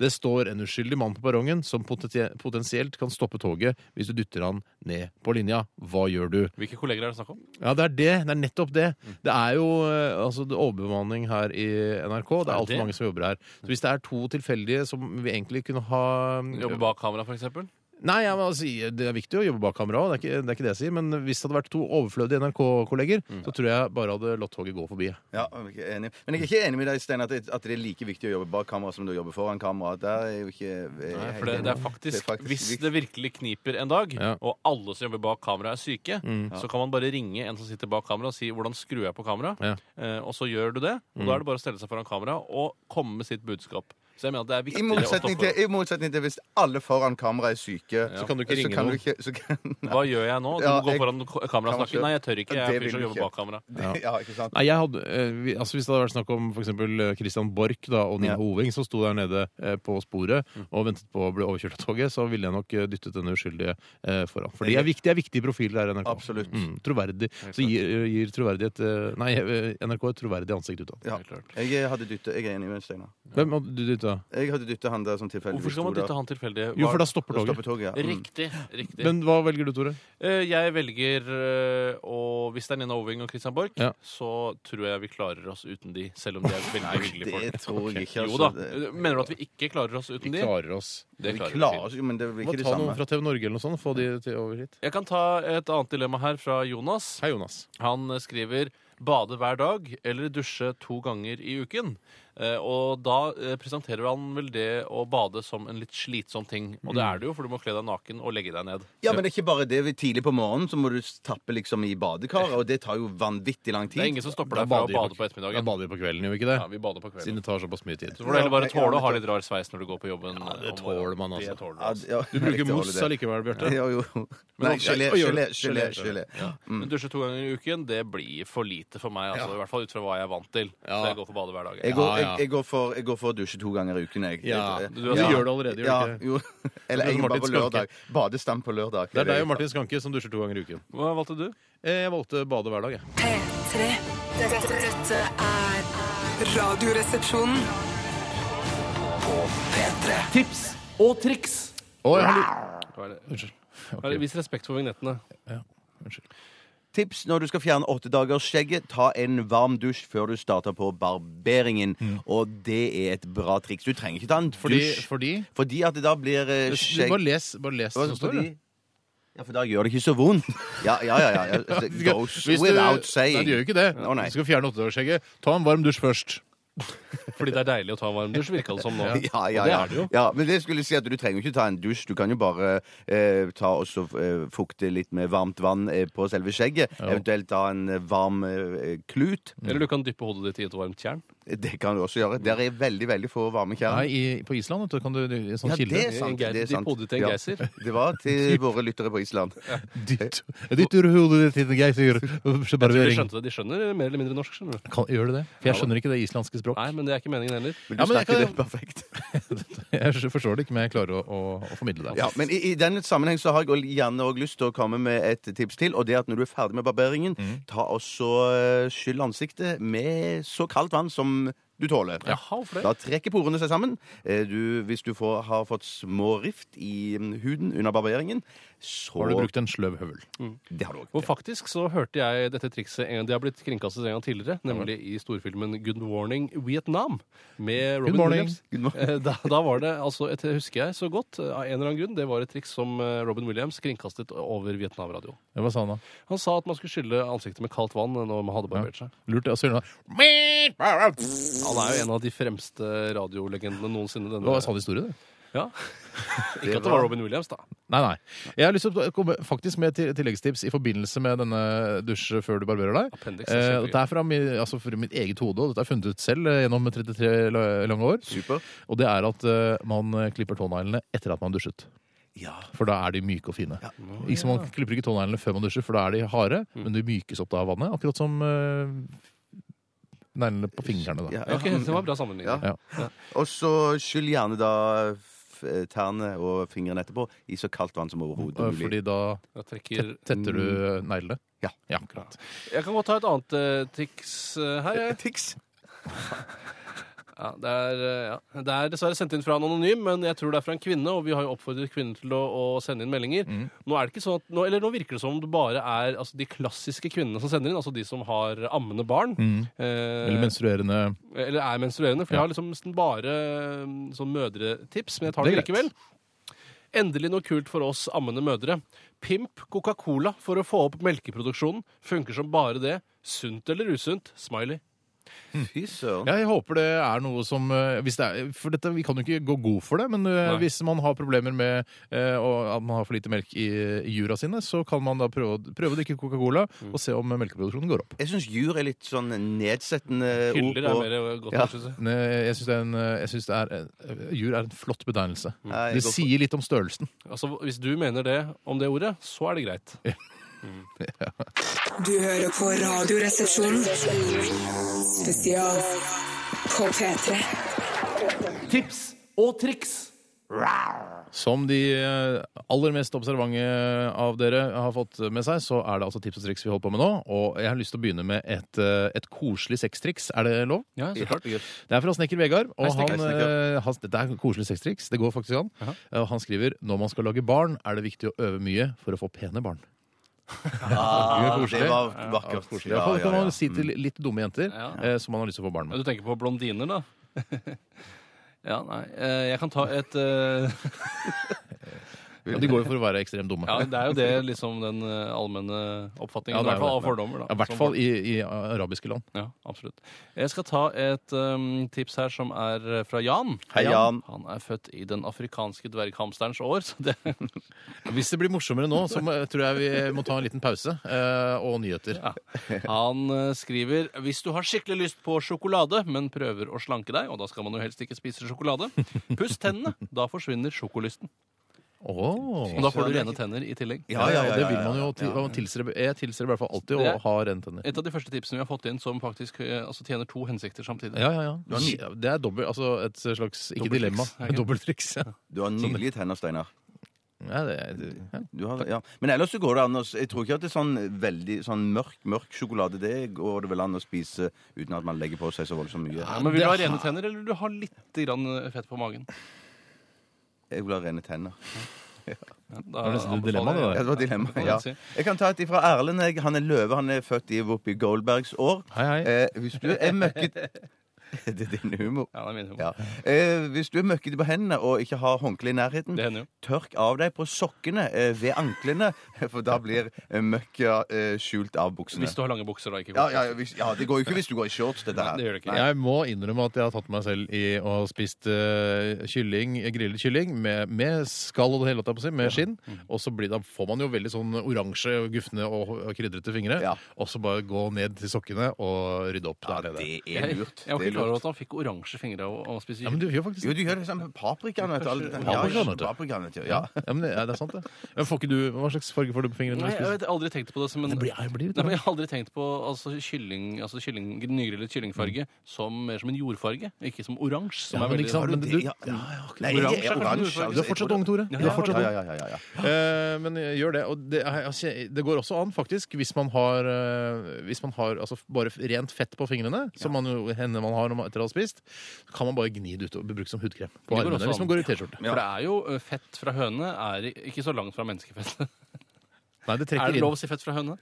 Det står en uskyldig mann på perrongen som potentie- potensielt kan stoppe toget hvis du dytter han ned på linja. Hva gjør du? Hvilke kolleger er det snakk om? Ja, det er det. Det er nettopp det. Det er jo eh, altså, det er overbemanning her i NRK. Det Er er altfor det? mange som jobber her. Så hvis det er to tilfeldige som vi egentlig kunne ha mm, Jobbe bak kamera, for eksempel? Nei, jeg må si, det er viktig å jobbe bak kamera òg, det, er ikke- det er ikke det jeg sier. Men hvis det hadde vært to overflødige NRK-kolleger, Mm. så tror jeg bare hadde latt toget gå forbi. Ja, jeg er enig. Men jeg er ikke enig med deg, Stein, at, det- at det er like viktig å jobbe bak kamera som det å jobbe foran kamera. Der er jo ikke jeg Nei, helt for det, enig. det er faktisk, Hvis det virkelig kniper en dag, Ja. Mm. og alle som jobber bak kamera, er syke, så kan man bare ringe en som sitter bak kamera og si 'hvordan skrur jeg på kamera?' Ja. Mm. Eh, og så gjør du det. Og Da er det bare å stelle seg foran kamera og komme med sitt budskap. Så jeg mener at det er I viktigere å motsetning, til, stoppe. I motsetning til hvis alle foran kamera er syke. Så kan du ikke ringe noen. ikke- så kan, nei, Hva gjør jeg nå? Du Ja, må gå jeg- foran ko- kamera og Kanskje. snakke. Nei, jeg tør ikke. Jeg Det er vil fyr som du jobber ikke. bak kamera. det, ja, ikke sant? Nei, jeg hadde, eh, vi, altså Hvis det hadde vært snakk om f.eks. Christian Borch da, og Nina Ja. Mm. Hoving, som sto der nede eh, på sporet og ventet på å bli overkjørt av toget, så ville jeg nok eh, dyttet denne uskyldige eh, foran. For de er viktige, er viktige profiler her i NRK. Absolutt. Mm, troverdig. Så gir, gir troverdighet eh, Nei, eh, NRK et troverdig ansikt utad. Ja. Jeg hadde dyttet. Jeg er enig med Steinar. Hvem hadde du dyttet dytta? Jeg hadde dytta han der som tilfeldigvis Hvorfor skal man sto der. dytte han tilfeldig? Jo, for da Var- stopper Da toget. stopper toget, ja. Mm. Riktig. riktig. Men hva velger du, Tore? Eh, jeg velger eh, å Hvis det er Nina Oving og Christian Borch, Ja. så tror jeg vi klarer oss uten de, selv om de er veldig hyggelige folk. Det tror jeg ikke. Jo Altså. da. Eh, Det- Mener du at vi ikke klarer oss uten de? klarer oss. Det Vi klarer vi. klarer oss jo, men det blir Må ikke det ta noen samme. fra TV Norge eller noe sånt og få de til over hit. Jeg kan ta et annet dilemma her fra Jonas. Hei, Jonas. Han eh, skriver Bade hver dag eller dusje to ganger i uken. Eh, og da eh, presenterer han vel det å bade som en litt slitsom ting. Og det er det jo, for du må kle deg naken og legge deg ned. Mm. Ja, men det er ikke bare det. Tidlig på morgenen så må du tappe liksom i badekaret, og det tar jo vanvittig lang tid. Det er ingen som stopper Da deg fra å bader vi på- bade på Da ettermiddagen. bader vi på kvelden, gjør vi ikke det? Ja, vi bader på Siden kvelden. det tar såpass mye tid. Så får du heller bare Ja, tåle å ja, ha litt rar sveis når du går på jobben. Ja, det tåler man, altså. Det tåler du, Ja, altså. ja, Du jeg bruker tåler mos det. allikevel, Bjarte. Ja, jo. Men Nei, også- gelé, og gjør gelé, det. gelé. Gelé, gelé. Mm. Men dusje to ganger i uken, det blir for lite for meg. Altså, I hvert fall ut fra hva jeg er vant til. Ja. Så jeg går for bade hver dag. Jeg jeg. går, Ja, ja. jeg, jeg, går for, jeg går for å dusje to ganger i uken, jeg. Ja, Jeg- du- du gjør det allerede, gjør du ja, ikke det? jo. Eller Du er jeg som bare Martin på Skanke. lørdag. Badestam på lørdag. Det er deg og Martin Skanke som dusjer to ganger i uken. Hva valgte du? Eh, Jeg valgte bade hver dag, jeg. P3. Dette, dette er Radioresepsjonen. Tips og triks! Å, jeg har Unnskyld. Vis respekt for vignettene. Tips når du skal fjerne åttedagersskjegget. Ta en varm dusj før du starter på barberingen. Og det er et bra triks. Du trenger ikke ta en Mm. Fordi, dusj. fordi Fordi at det da blir eh, skjegg Bare les, bare les det som står. Fordi- det. Ja, for da gjør det ikke så vondt. Ja, ja, ja. ja. ja. Goes Hvis du- without Nei, saying. det gjør jo ikke det. Å, nei. Du skal fjerne åttedagersskjegget. Ta en varm dusj først. Fordi det er deilig å ta en varm dusj, virka det som nå. Ja, ja, Og det ja. er det jo. ja, men det skulle jeg si at du trenger jo ikke ta en dusj. Du kan jo bare eh, ta og så eh, fukte litt med varmt vann eh, på selve skjegget. Eventuelt ta en eh, varm eh, klut. Eh, Eller du kan dyppe hodet ditt i et varmt tjern. Det kan du også gjøre. Der er veldig, veldig få varme Nei, kjerner. i, på Island vet du, kan du i en sånn Ja, det kilde. er sant. Eh, Geir, Det er dypp sant. hodet til en Ja. geyser. Det var til våre lyttere på Island. Dytt, dytter hodet ditt i en geysir. De Barbering. skjønte det, de skjønner mer eller mindre norsk. skjønner du Kan, gjør du det? For jeg skjønner ikke det islandske språk. Nei, men det er ikke meningen heller. Men Ja, du men jeg snakker kan- det perfekt. Jeg forstår det ikke, men jeg klarer å, å, å formidle det. Ja, men i, i den sammenheng så har jeg også gjerne også lyst til å komme med et tips til. Og det er at når du er ferdig med barberingen, Mm. ta også eh, skyll ansiktet med så kaldt vann som du tåler. Da trekker porene seg sammen. Eh, Du, hvis du får, har fått små rift i mm, huden under barberingen, så Mm. Har du brukt en sløv høvel? Det har du òg. Og faktisk så hørte jeg dette trikset en, De har blitt kringkastet en gang tidligere, nemlig i storfilmen Good Warning Vietnam med Robin morning. Williams. Eh, Da, da var det altså et, husker jeg så godt, eh, av en eller annen grunn, det var et triks som eh, Robin Williams kringkastet over Vietnam-radioen. Hva sa han sånn, da? Han sa at man skulle skylle ansiktet med kaldt vann når man hadde barbert seg. Lurt, ja. Så gjør han da. Han er jo en av de fremste radiolegendene noensinne. Det Denne. var en sann historie, det. Ja. Ikke at det var Robin Williams, da. Nei, nei. Jeg har lyst til å komme faktisk med et tilleggstips i forbindelse med denne dusj før du barberer deg. Appendix er Eh, kjempegøy. det er fra min, altså fra mitt eget hode, og dette er funnet ut selv eh, gjennom 33 la- lange år. Super. Og det er at eh, man klipper tåneglene etter at man dusjet. Ja. For da er de myke og fine. Ikke som Man klipper ikke tåneglene før man dusjer, for da er de harde, Mm. men de mykes opp da av vannet. Akkurat som eh, neglene på fingrene. da. Ja, Ok, det var bra sammenligning. Ja. Og så skyll gjerne da f- eh, tærne og fingrene etterpå i så kaldt vann som overhodet Eh, mulig. Mm. Fordi da Jeg trekker tetter du eh, neglene. Ja. akkurat. Jeg kan godt ta et annet eh, triks eh, her. Jeg. Tics. Ja, det, er, eh, ja. det er dessverre sendt inn fra en anonym, men jeg tror det er fra en kvinne. Og vi har jo oppfordret kvinner til å, å sende inn meldinger. Nå, er det ikke sånn at, nå, eller nå virker det som om det bare er altså, de klassiske kvinnene som sender inn. Altså de som har ammende barn. eh, Mm. Eller menstruerende eller er menstruerende. For jeg har liksom nesten bare mm, sånn mødretips, men jeg tar det, Det er likevel. Endelig noe kult for oss ammende mødre. Pimp Coca-Cola for å få opp melkeproduksjonen. Funker som bare det. Sunt eller usunt? Smiley. Fy søren. Ja, jeg håper det er noe som eh, hvis det er, For dette, vi kan jo ikke gå god for det, men eh, Nei. hvis man har problemer med eh, og at man har for lite melk i, i jura sine, så kan man da prøve, å- prøve å drikke Coca-Cola Mm. og se om eh, melkeproduksjonen går opp. Jeg syns jur er litt sånn nedsettende ord Hyller på er mer eh, godt. Ja. synes jeg. Men, eh, Jeg syns det er en, eh, jeg synes det er, eh, jur er en flott betegnelse. Nei, jeg Det går for- sier litt om størrelsen. Altså, Hvis du mener det om det ordet, så er det greit. Mm. Du hører på Radioresepsjonen. Spesial på P3. Tips og triks! Som de eh, aller mest observante av dere har fått med seg, så er det altså tips og triks vi holder på med nå. Og jeg har lyst til å begynne med et, eh, et koselig sextriks. Er det lov? Ja, så klart. Det er fra snekker Vegard. Og Hei, snekker. han, Hei, eh, han, dette er koselig sextriks. Det går faktisk an. Jaha. Eh, Og han skriver når man skal lage barn, er det viktig å øve mye for å få pene barn. Ah, koselig. det var Ja, vakkert. koselig. Det kan man si til Mm. litt dumme jenter Ja. eh, som man har lyst til å få barn Ja, med. du tenker på blondiner, da? ja, nei. Eh, Jeg kan ta et eh, Ja, de går jo for å være ekstremt dumme. Ja, det er jo det liksom den eh, allmenne oppfatningen. Ja, I det er hvert fall jo av det. fordommer, da. Ja, I hvert Som fall i, i arabiske land. Ja, absolutt. Jeg skal ta et um, tips her som er eh, fra Jan. Hei, Jan. Han er født i den afrikanske dverghamsterens år, så det Hvis det blir morsommere nå, så må, tror jeg vi må ta en liten pause eh, og nyheter. ja. Han eh, skriver Hvis du har skikkelig lyst på sjokolade, men prøver å slanke deg, og da skal man jo helst ikke spise sjokolade, puss tennene. Da forsvinner sjokolysten. Åh. Og da får du rene tenner i tillegg. Ja, ja, ja, Det ja, vil man ja. jo til, og man tilstrebe. Jeg tilstreber i hvert fall alltid Det å er- ha rene tenner. Et av de første tipsene vi har fått inn som faktisk eh, altså, tjener to hensikter samtidig. Ja, ja, ja. Det er dobbelt, altså et slags ikke dilemma. Dobbelttriks, er det ikke? Dobbelttriks. Ja. Sånn- Du har nydelige tenner, Steinar. Ja, det, er- det, ja. Du har, ja. Men ellers så går det an å s- Jeg tror ikke at det er sånn veldig sånn mørk, mørk sjokolade. Det går det vel an å spise uten at man legger på seg så voldsomt Ja, mye. men Det Vil du ha har- rene tenner, eller vil du ha litt grann eh, fett på magen? Jeg vil ha rene tenner. Ja, da var nesten et anbefaler dilemma, det jeg- der. Ja, det var dilemmaet. kan Ja. jeg si. Jeg kan ta et ifra Erlend. Jeg- Han er løve. Han er født i Whoopi Goldbergs år. Hei, hei. Eh, hvis du er møkket Det er din humor. Ja, det er min humor. Ja. Eh, hvis du er møkkete på hendene og ikke har håndkle i nærheten, Det hender jo. tørk av deg på sokkene eh, ved anklene, for da blir eh, møkka eh, skjult av buksene. Hvis du har lange bukser, da. ikke Ja, ja, ja, hvis, ja, det går jo ikke hvis du går i shorts, dette her. Det gjør det ikke. Jeg må innrømme at jeg har tatt meg selv i å ha spist eh, kylling, grillet kylling med, med skall og det hele, holdt jeg på å si, med skinn. Mm. Og så blir, da får man jo veldig sånn oransje, og gufne og, og krydrete fingre. Ja. Og så bare gå ned til sokkene og rydde opp Ja, der nede. det er Jeg, lurt. jeg Det er lurt. var ikke klar over at han fikk oransje fingre av å- å spise Ja, men du kylling. gjør faktisk Jo, du gjør det sammen med paprikaen. vet du, alle- Paprikaen, vet du. Ja, paprikaen, vet du. Ja, Ja. ja men det, ja, det er sant, det. Men får ikke du, hva slags farge får du på fingrene? når du Nei, jeg spiser? har aldri tenkt på det som en Det blir- jeg blir- Nei, men jeg har aldri tenkt på altså, kylling, altså, kylling, nygrillet kyllingfarge som mer som en jordfarge, ikke som oransje. Som Mm. Ja, er men veldig- ikke sant, Har du- men det- du, ja, ja, Nei, jeg Oransje er er oransje. kanskje du- altså, du er jeg fortsatt tror ung, det. Tore. Ja, Du er ja, fortsatt Ja, ung. ja, ja, ja, ja. Eh, men gjør det. Og det, er- altså, det går også an, faktisk, hvis man har, eh, hvis man har altså, bare rent fett på fingrene, som man jo hender man har når man etter å ha spist, så kan man bare gni det ut og bruke som hudkrem på går armene også hvis man an. går liksom i T-skjorte. For det er jo ø, fett fra høne er i- ikke så langt fra menneskefett. Nei, det Er trekker det lov å inn. si fett fra høne?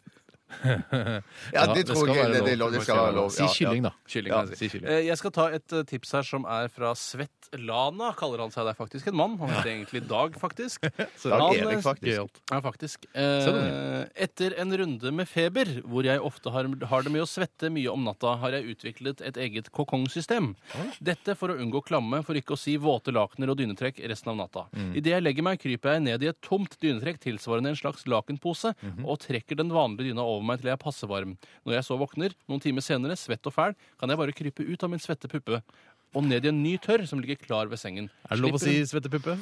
Ja, det tror skal jeg være det, det, er lov- det skal være lov. Si kylling, da. Kylling, Ja, kan jeg si kylling. Eh, Jeg skal ta et eh, tips her som er fra Svett Lana, kaller han seg. Det er faktisk en mann. Han heter egentlig Dag, faktisk. Ja. Dag Han, eh, Erik, faktisk. Gøyalt. Ja, faktisk. Se den Eh, etter en runde med feber, hvor jeg ofte har, har det med å svette mye om natta, har jeg utviklet et eget kokongsystem. Dette for å unngå klamme, for ikke å si våte lakener og dynetrekk resten av natta. Mm. Idet jeg legger meg, kryper jeg ned i et tomt dynetrekk tilsvarende en slags lakenpose, Mhm. og trekker den vanlige dyna over meg til jeg er passe varm. Når jeg så våkner, noen timer senere, svett og fæl, kan jeg bare krype ut av min svette puppe. Og ned i en ny tørr som ligger klar ved sengen. Er det lov å Slipper si svettepuppe?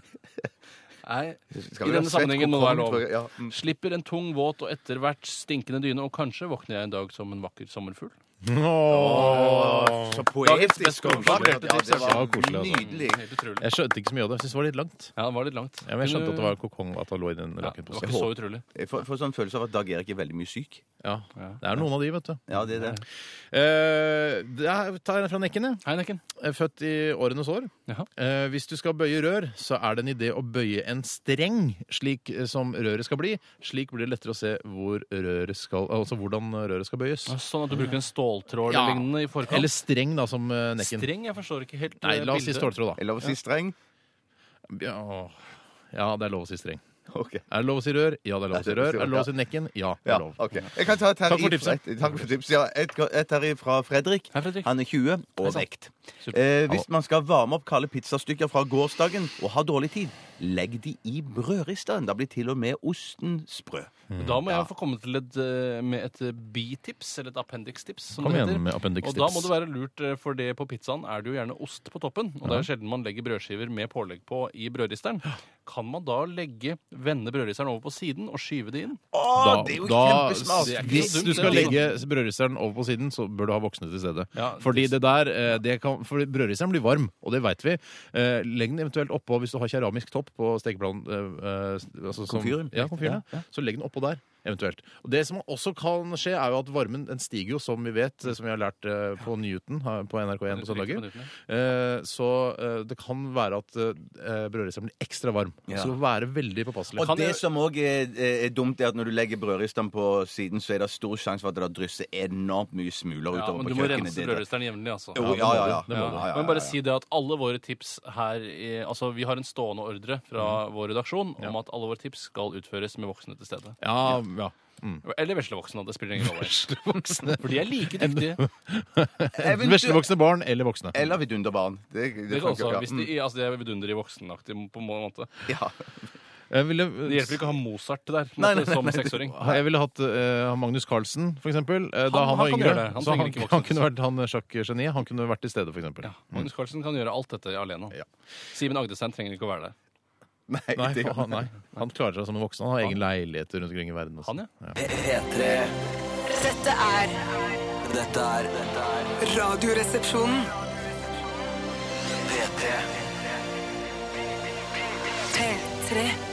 Nei, Skal i vi ha denne svett sammenhengen må det være kokong, lov. tror jeg, ja. Mm. Slipper en tung, våt og etter hvert stinkende dyne, og kanskje våkner jeg en dag som en vakker sommerfugl. Åh. Så Dagens best poetisk og vakkert. konstruerte Ja, tips, det altså. var Ja, koselig, altså. nydelig. Helt utrolig. Jeg skjønte ikke så mye av det. Jeg synes det var litt langt. Ja, det var litt langt. Ja, men jeg skjønte at det var ja, kokong at han lå i den det var lakenposen. ikke så utrolig. Jeg får, får sånn følelse av at Dag Erik er veldig mye syk. Ja. Det er noen av de, vet du. Ja, det er det. Eh, det er, tar jeg fra nekken, jeg. Hei, Nekken. er født i årenes år. Jaha. Eh, hvis du skal bøye rør, så er det en idé å bøye en streng slik eh, som røret skal bli. Slik blir det lettere å se hvor røret skal, altså hvordan røret skal bøyes. Ja, Sånn at du bruker en ståltråd Mm. Ja. eller lignende i forkant. Eller streng, da, som eh, nekken. Streng, jeg forstår ikke helt Nei, eh, la oss si bildet. ståltråd, da. Er lov å si streng? Ja, åh. ja, det er lov å si streng. Ok. Er det lov å si rør? Ja, det er lov å si rør. Er det lov å si nekken? Ja, det Ja, er lov. ok. Jeg kan ta et her Takk for i- tipset. Et, takk for tipset, ja. Et, et her i fra Fredrik. Hei, Fredrik. Han er 20 og sant. vekt. Supert. Eh, hvis man skal varme opp kalde pizzastykker fra gårsdagen og har dårlig tid, legg de i brødristeren. Da blir til og med osten sprø. Mm. Da må jeg få komme til et, eh, med et eh, bitips, eller et appendix-tips, som Kom det igjen heter. med Og da må appendikstips. det være lurt, eh, for det på pizzaen er det jo gjerne ost på toppen. Og det er jo sjelden man legger brødskiver med pålegg på i brødristeren. Kan man da legge vende brødristeren over på siden og skyve det inn. Å, det er jo kjempesmart! det er ikke hvis så dumt, du skal det. legge brødristeren over på siden, så bør du ha voksne til stede. Ja, fordi det der, eh, det kan, fordi brødristeren blir varm, og det veit vi. Eh, Legg den eventuelt oppå hvis du har keramisk topp på stekeplanen. eh, eh, Altså, som- Komfyren. Ja, komfyren. Så legg den oppå der. Eventuelt. Og Det som også kan skje, er jo at varmen den stiger jo, som vi vet, eh, som vi har lært eh, på Newton eh, på NRK1 på søndager. Eh, Så eh, det kan være at eh, brødristeren blir ekstra varm. Ja. Så vær veldig påpasselig. Og det som òg er, er dumt, er at når du legger brødristene på siden, så er det stor sjanse for at det drysser enormt mye smuler Ja, utover men på du må kjøkkenet. rense Det- brødristeren jevnlig, altså. Jo, ja, ja, ja. Det må du. Ja, ja, ja, Men bare ja. si det at alle våre tips her i- Altså, vi har en stående ordre fra Mm. vår redaksjon om at alle våre tips skal utføres med voksne til stede. Ja, ja. Mm. Eller veslevoksne, det spiller ingen rolle. For de er like dyktige. Eventu- Veslevoksne barn eller voksne. Eller vidunderbarn. Det, det, Det kan funker, også, ja. Mm. hvis de, altså, de er vidundere i voksenaktig på en måte. Ja. Jeg ville, Det hjelper ikke å ha Mozart der på en Nei, måte, nei, nei, som nei. seksåring. jeg ville hatt eh, Magnus Carlsen, for eksempel. eh, da Han- han, han var kan yngre. gjøre det. Han så trenger han, ikke voksen. han kunne vært han sjakkgeniet. Han kunne vært til stede, for eksempel. Ja, Magnus Carlsen kan gjøre alt dette alene. Ja. Simen Agdestein trenger ikke å være der. Nei, Nei, det, han, nei, han klarer seg som en voksen. Han har egen leilighet rundt omkring i verden. altså. også. Han, ja. P3 Dette er Dette er dette er Radioresepsjonen. P3 P3.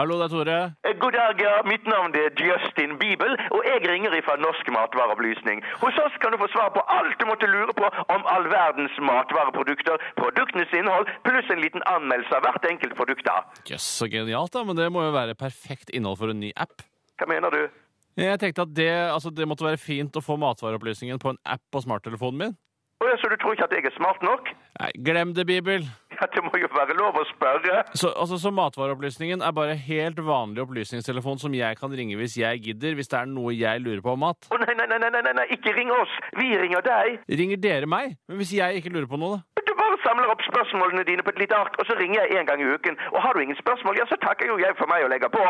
Hallo, det er Tore. God dag, ja. Mitt navn er Justin Bibel, og jeg ringer ifra Norsk Matvareopplysning. Hos oss kan du få svar på alt du måtte lure på om all verdens matvareprodukter, produktenes innhold, pluss en liten anmeldelse av hvert enkelt produkt. da. Jøss, så genialt, da. Men det må jo være perfekt innhold for en ny app. Hva mener du? Jeg tenkte at det, altså, det måtte være fint å få matvareopplysningen på en app på smarttelefonen min. Å ja, Så du tror ikke at jeg er smart nok? Nei, glem det, Bibel. Ja, Det må jo være lov å spørre. Så, altså, så matvareopplysningen er bare helt vanlig opplysningstelefon som jeg kan ringe hvis jeg gidder, hvis det er noe jeg lurer på om mat. Å nei, nei, nei, nei, nei, nei, ikke ring oss. Vi ringer deg. Ringer dere meg? Men hvis jeg ikke lurer på noe, da? Du bare samler opp spørsmålene dine på et lite ark, og så ringer jeg en gang i uken. Og har du ingen spørsmål, ja, så takker jo jeg for meg og legger på.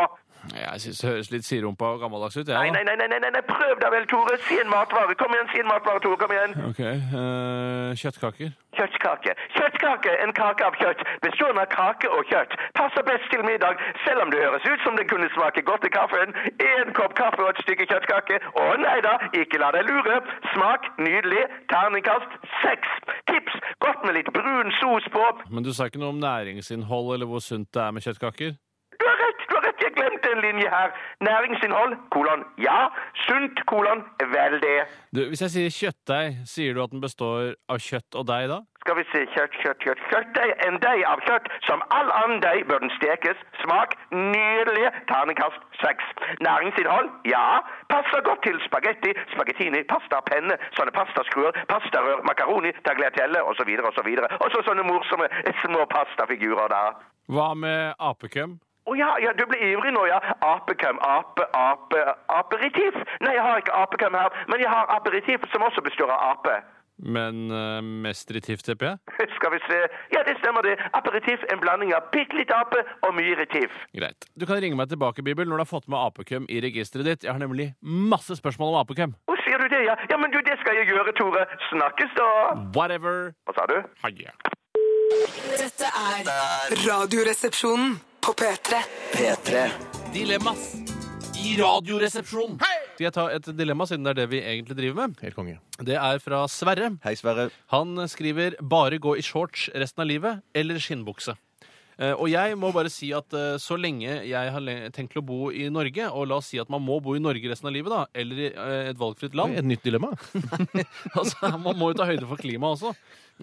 Nei, Jeg synes det høres litt sirumpa og gammeldags ut, jeg. Nei, nei, da. nei, nei, nei, nei, nei. prøv deg vel, Tore. Si en matvare. Kom igjen, si en matvare, Tore. Kom igjen. Ok, eh, kjøttkaker. Kjøttkake. Kjøttkake, en kake av kjøtt, bestående av kake og kjøtt. Passer best til middag, selv om det høres ut som det kunne smake godt i kaffen. En kopp kaffe og et stykke kjøttkake. Å nei da, ikke la deg lure. Smak nydelig. Terningkast seks. Tips godt med litt brun sos på. Men du sa ikke noe om næringsinnhold eller hvor sunt det er med kjøttkaker? Du har rett, du har rett, jeg glemte en linje her. Næringsinnhold, kolon, ja. Sunt, kolon, vel det. Du, hvis jeg sier kjøttdeig, sier du at den består av kjøtt og deig da? Skal vi se, kjøtt, kjøtt, kjøtt, kjøttdeig. En deig av kjøtt. Som all annen deig bør den stekes. Smak nydelig. Terningkast seks. Næringsinnhold? Ja. Passer godt til spagetti, spagettini, pasta, penne, sånne pastaskruer, pastarør, makaroni, tagliatelle osv. osv. Og så sånne morsomme små pastafigurer der. Hva med apekøm? Å ja, ja, du ble ivrig nå, ja. Apekøm, ape, ape, aperitif. Nei, jeg har ikke apekøm her, men jeg har aperitif som også består av ape. Men eh, mest retivt, tipper jeg? Skal vi se. Ja, det stemmer det. Aperitif, en blanding av bitte litt ape og mye retiv. Greit. Du kan ringe meg tilbake, Bibel, når du har fått med apekøm i registeret ditt. Jeg har nemlig masse spørsmål om apekøm. Å, sier du det, ja? Ja, men du, det skal jeg gjøre, Tore. Snakkes da. Whatever. Hva sa du? Ha det. Dette er Radioresepsjonen på P3. P3 Dilemmas i Radioresepsjonen. Skal jeg ta et dilemma, siden det er det vi egentlig driver med? Helt konge. Det er fra Sverre. Hei, Sverre. Han skriver 'bare gå i shorts resten av livet' eller skinnbukse. Eh, Og jeg må bare si at eh, så lenge jeg har le- tenkt til å bo i Norge, og la oss si at man må bo i Norge resten av livet, da, eller i eh, et valgfritt land Et nytt dilemma. altså, Man må jo ta høyde for klimaet også.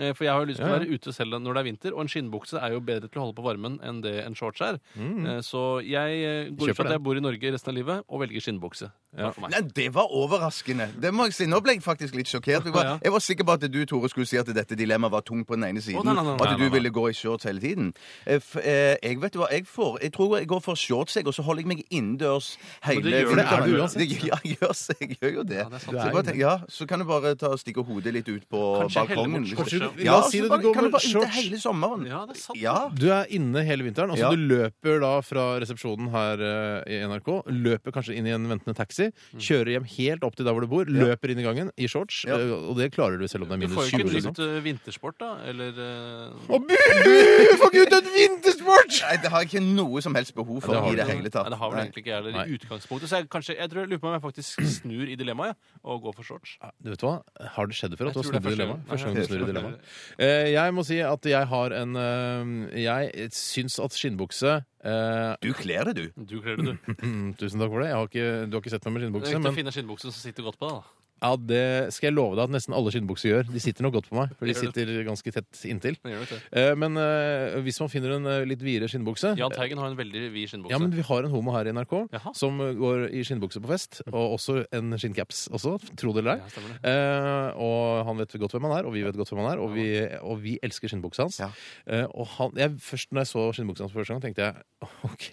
Eh, For jeg har jo lyst til å være ute selv når det er vinter, og en skinnbukse er jo bedre til å holde på varmen enn det en shorts er. Eh, Så jeg eh, går ut Mm. Kjøper fra at den. jeg bor i Norge resten av livet, og velger skinnbukse. Takk for meg. Nei, det var overraskende. Det må jeg si. Nå ble jeg faktisk litt sjokkert. Jeg var, Ja. jeg var sikker på at du, Tore, skulle si at dette dilemmaet var tungt på den ene siden, Å, nei, nei, nei, og at nei, du nei, nei. ville gå i shorts hele tiden. Eh, f- eh, Jeg vet du hva, jeg, får, jeg tror jeg går for shorts, jeg, og så holder jeg meg innendørs hele det gjør du, vinteren. det er du uansett. Det gjør- Ja, jeg gjør, så- jeg gjør jo det. det er så, sant. jeg bare tenker, ja, så kan du bare ta og stikke hodet litt ut på Kanskje helle balkongen. bort hvis det- Kanskje shorts. du du, Ja, la oss si så det, bare- du går kan du med bare inntil shorts. hele sommeren. Ja, det er sant. Ja. Du er inne hele vinteren. Altså, Ja. Du løper da fra resepsjonen her eh, i NRK, løper kanskje inn i en ventende taxi, kjører hjem helt opp til der hvor du bor, løper inn i gangen i shorts, Mm. Ja. eh, og det klarer du selv om det er Du får minus jo 20. ikke Liksom. trygt eh, vintersport, da? Eller eh, Å, bu! Du får ikke ut et vintersport! Nei, det har jeg ikke noe som helst behov for det har i du det ikke. hele Nei, tatt. det har vel Nei. egentlig ikke jeg heller Nei. i utgangspunktet. Så jeg, kanskje, jeg tror jeg lurer på om jeg faktisk snur i dilemmaet ja, og går for shorts. Du vet hva? Har det skjedd før at du Jeg har tror det snudd i er første dilemmaet? gang. Første Nei, gang du snur jeg i tror det er dilemmaet. Eh, Jeg må si at jeg har en eh, Jeg syns at skinnbukse eh, Du kler det, du. Du kler det, du. mm, Tusen takk for det. Jeg har ikke, du har ikke sett meg med Det er skinnbukse, viktig å men finne skinnbukse som sitter godt på deg. da. ja, det skal jeg love deg at nesten alle skinnbukser gjør. De sitter nok godt på meg, for de Gjør det. sitter ganske tett inntil. Det gjør nok det. Eh, Men eh, hvis man finner en eh, litt videre skinnbukse Jahn Teigen har en veldig vid skinnbukse. Ja, men vi har en homo her i NRK Jaha. som eh, går i skinnbukse på fest, Mm. og også en skinncaps også, tro det eller ei. Ja, stemmer det. Eh, og han vet godt hvem han er, og vi vet godt hvem han er, og vi, og vi elsker skinnbuksa hans. Ja. Eh, og han, jeg, først når jeg så skinnbuksa hans første gang, tenkte jeg OK,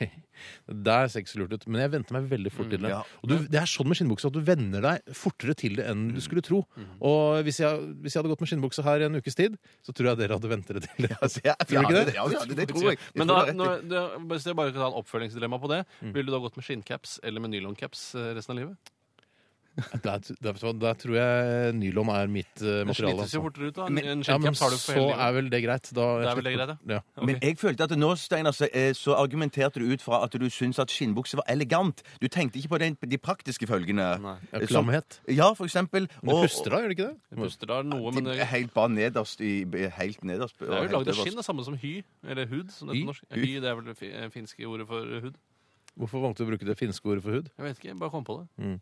det der ser ikke så lurt ut, men jeg venter meg veldig fort til Mm, det. ja. Og du, det er sånn med skinnbuksa at du venner deg fortere til det enn Mm. du skulle tro. Og hvis jeg, hvis jeg hadde gått med skinnbukse her i en ukes tid, så tror jeg dere hadde ventet dere til det. Altså, jeg, Tror du ikke det? Ja, ja, det, det tror jeg. Det Men tror da, jeg Mm. er når, riktig. det, hvis jeg bare kan ta en oppfølgingsdilemma på det, ville du da gått med skinncaps eller med nyloncaps eh, resten av livet? Der, der, vet du hva, der tror jeg nylon er mitt eh, Det materiale. slites jo Altså. fortere ut, da. Men- En Ja, men skinncaps har du så for hele er livet. vel det greit. Da, Det er vel det greit, ja. Men jeg følte at nå, Steinar, så, eh, så argumenterte du ut fra at du syntes at skinnbukse var elegant. Du tenkte ikke på den, de praktiske følgene. Ja, Eh, som- Klamhet. Ja, for eksempel. Men det puster da, gjør det ikke det? Du puster da noe, men det det er helt bare nederst i Helt nederst. det er jo lagd av skinn, det samme som hy. Eller hud. Som det Hy? heter på norsk. Hy, det er vel det fi- eh, finske ordet for hud. Hvorfor valgte du å bruke det finske ordet for hud? Mm. Jeg vet ikke, jeg bare kom på det.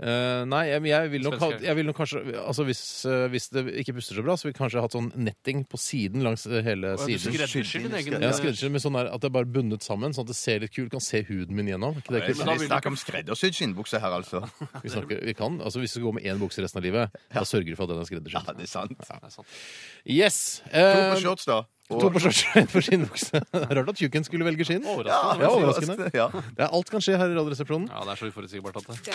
Eh, nei, jeg, men jeg, vil nok, ha- Svensker. jeg vil nok kanskje Altså hvis, eh, hvis det ikke puster så bra, så vil jeg kanskje ha hatt sånn netting på siden langs eh, hele Og jeg siden. skrev- skreddersyr din egen eh, Ja, skreddersyr, men sånn der at det er bare bundet sammen, sånn at det ser litt kult Kan se huden min gjennom. Er Ikke det Nei, kult? men da Vi vil- snakker om skreddersydd skinnbukse her, altså. vi, snakker, vi kan, altså Hvis du går med én bukse resten av livet, da sørger du for at den er Ja, skreddersydd. det er sant. Nei, sant. Yes! To Eh, på shorts, da. Og- to på shorts, en på skinnbukse. Rart at tjukken skulle velge skinn. Overraskende. Ja, overraskende. Ja. Det er, alt kan skje her i Radioresepsjonen. Ja, det er så uforutsigbart at det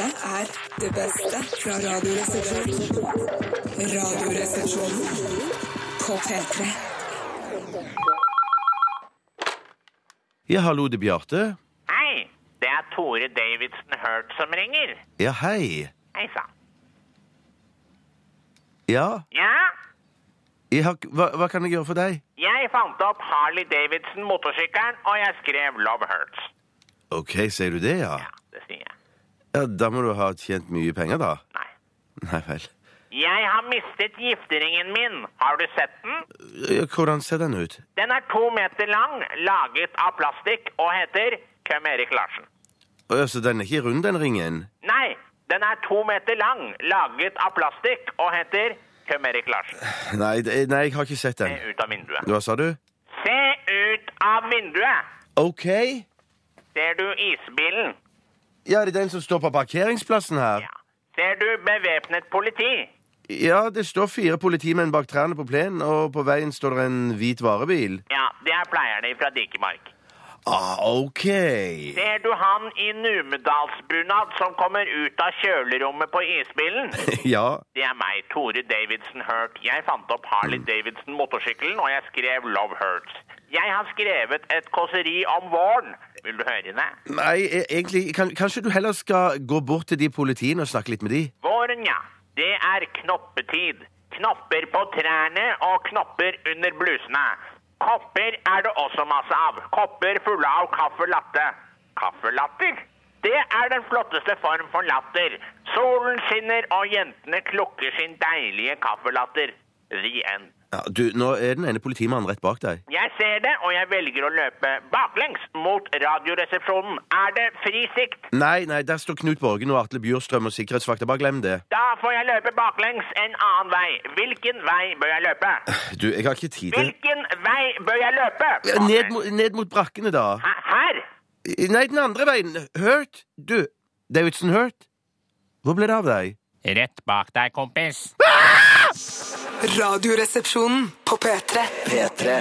Dette er det beste fra Radioresepsjonen. Radioresepsjonen på P3. ja, hallo, det er Bjarte. Hei, det er Tore Davidson Hurt som ringer. Ja, hei. Hei sann. Ja, Ja, jeg har, hva, hva kan jeg gjøre for deg? jeg fant opp Harley Davidson motorsykkelen, og jeg skrev Love Hurts. OK, sier du det, ja? Ja, det sier jeg. ja? Da må du ha tjent mye penger, da. Nei. Nei vel. Jeg har mistet gifteringen min. Har du sett den? Ja, Hvordan ser den ut? Den er to meter lang, laget av plastikk og heter Køm Erik Larsen. Å, ja, så den er ikke rund, den ringen? Nei, den er to meter lang, laget av plastikk og heter Køm Erik Larsen. Nei, det, nei, jeg har ikke sett Se den. ut av vinduet. Hva sa du? Se ut av vinduet! OK. Ser du isbilen? Ja, det er den som står på parkeringsplassen her? Ja. Ser du bevæpnet politi? Ja, det står fire politimenn bak trærne på plenen, og på veien står det en hvit varebil. Ja, det er pleierne fra Dikemark. Ah, OK. Ser du han i Numedalsbunad som kommer ut av kjølerommet på isbilen? Ja. Det er meg, Tore Davidson Hurt. Jeg fant opp Harley Davidson motorsykkelen, og jeg skrev Love Hurts. Jeg har skrevet et kåseri om våren. Vil du høre det? Nei, e- egentlig kan, Kanskje du heller skal gå bort til de politiene og snakke litt med de? Våren, ja. Det er knoppetid. Knopper på trærne og knopper under blusene. Kopper er det også masse av. Kopper fulle av kaffe latte. Kaffelatter? Det er den flotteste form for latter. Solen skinner, og jentene klukker sin deilige kaffelatter. The end. Ja, du, Nå er den ene politimannen rett bak deg. Jeg ser det, og jeg velger å løpe baklengs mot radioresepsjonen. Er det fri sikt? Nei, nei, der står Knut Borgen og Atle Bjurstrøm og sikkerhetsvakter. Bare glem det. Da får jeg løpe baklengs en annen vei. Hvilken vei bør jeg løpe? Du, jeg har ikke tid til Hvilken vei bør jeg løpe? ja, ned, mot- ned mot brakkene, da. Hæ- Her? I- Nei, den andre veien. Hurt? Du, Davidson Hurt? Hvor ble det av deg? Rett bak deg, kompis. Radioresepsjonen på P3. P3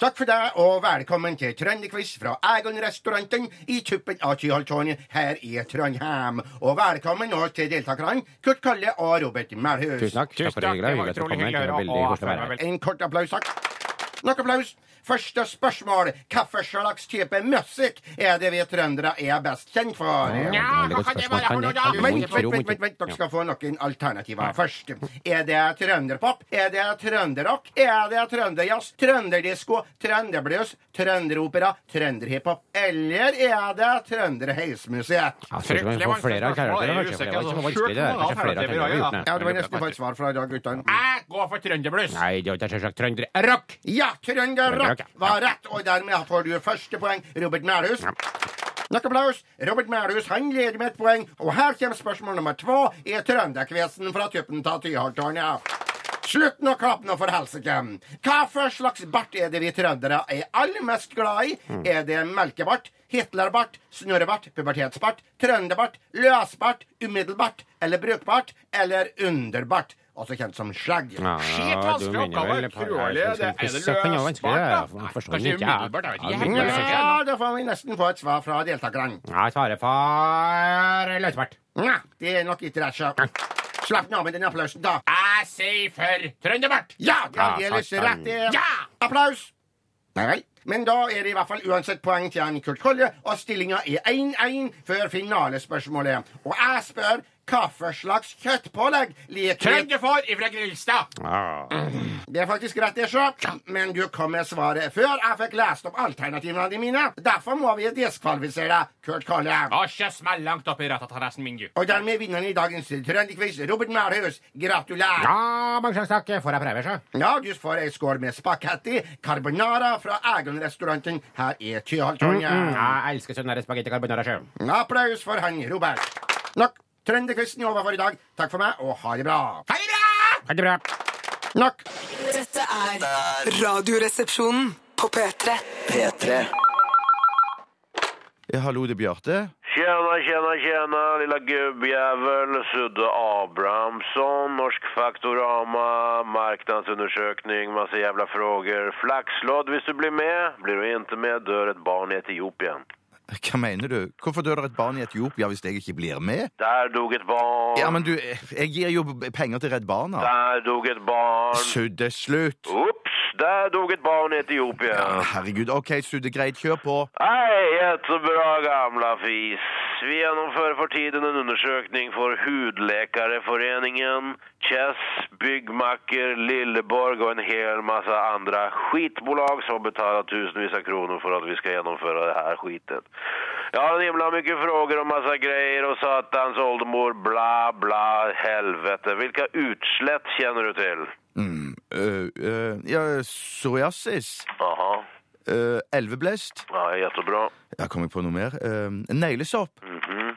Takk for deg, og velkommen til Trønderquiz fra Egon-restauranten i tuppen av Tyholttårnet her i Trondheim. Og velkommen nå til deltakerne Kurt Kalle og Robert Melhus. Tusen takk. Takk for det, hyggelig. Hyggelig at du kom hit. Det var veldig koselig å være her. En kort applaus, takk. Nok applaus. Første spørsmål. Hvilken slags type musikk er det vi trøndere er best kjent for? Ja, hva kan det være for noe da? Vent, vent, vent, vent, vent. dere skal få noen alternativer først. Er det trønderpop? Er det trønderrock? Er det trønderjazz? Trønderdisko? Trønderblues? Trønderopera? Trønderhiphop? Eller er det trønderheismusikk? Ja, spørs om vi får flere av karakterene, kanskje. for Det sånn var ikke så vanskelig, det der. Kanskje flere sånn. av karakterene vi har gjort det. Ja, det var nesten for et svar fra dag guttene. Jeg går for trønderbluss. Nei, det er selvsagt trønderrock. Ja, trønderrock var rett, og dermed får du første poeng, Robert Melhus. Nok applaus. Robert Melhus han leder med et poeng, og her kommer spørsmål nummer to i Trønderkvesen fra tuppen av Tyholttårnet. Slutt nå å klappe nå for helsike. Hva for slags bart er det vi trøndere er aller mest glad i? Mm. Er det melkebart, Hitlerbart, snurrebart, pubertetsbart, trønderbart, løsbart, umiddelbart eller brukbart eller underbart? Også kjent som skjegg. Ja, du mener vel på Krøle, Kanskje det er umiddelbart, jeg vet ikke. Ja, da får vi nesten få et svar fra deltakerne. Jeg svarer for løsbart. Nei, det er nok ikke rett. så. Slapp nå av med den applausen, da. Jeg sier for trønderbart. Ja, det er aldeles satan. rett. det. Ja! Applaus! Nei vel. Men da er det i hvert fall uansett poeng til han Kurt Kolle, og stillinga er 1-1 før finalespørsmålet. Og jeg spør hva for slags kjøttpålegg liker vi? Trønderfår ifra Grilstad. Det er faktisk rett, det, sjø. Men du kom med svaret før jeg fikk lest opp alternativene mine. Derfor må vi diskvalifisere deg, Kurt Kolle. Og kjøss meg langt opp i ratatatassen min, du. Og dermed vinneren i dagens Trønderquiz, Robert Melhus. Gratulerer. Ja, mange slags takk. Får jeg prøve, så? Ja, du får ei skål med spagetti carbonara fra Egon-restauranten her i Tyholttårnet. Jeg elsker sånn spagetti carbonara sjøl. Applaus for han Robert. Nok Trønderquizen er over for i dag. Takk for meg, og ha det bra. Ha det bra! Ha det bra. Nok. Dette er Radioresepsjonen på P3. P3 Ja, hallo, det er Bjarte. Tjena, tjena, tjena, lilla gubbjävel, Sudde Abrahamsson, Norsk Faktorama, marknadsundersökning, massa jävla frågor. Flaxlodd, hvis du blir med. Blir du inte med, dör ett barn i Etiopien. Hva mener du? Hvorfor dør det et barn i Etiopia hvis jeg ikke blir med? Der dog et barn. Ja, men du, eh, jeg gir jo penger til Redd Barna. Der dog et barn. Sudde, slutt. Ups, der dog et barn i Etiopien. Herregud, OK, sudde, greit, kjør på. Hei, jättebra gamla fis. Vi genomför för tiden en undersökning för Hudläkareföreningen, Chess, Byggmacker, Lilleborg och en hel massa andra skitbolag som betalar tusenvis av kronor för att vi ska genomföra det här skitet. Jag har en himla mycket frågor och massa grejer och satans åldermor, bla bla, helvete. Vilka utslätt känner du till? Mm, øh, øh, ja, psoriasis. Jaha, øh, elveblest. ja, jättebra. Jeg kommer på noe mer. Øh, neglesopp. Mhm.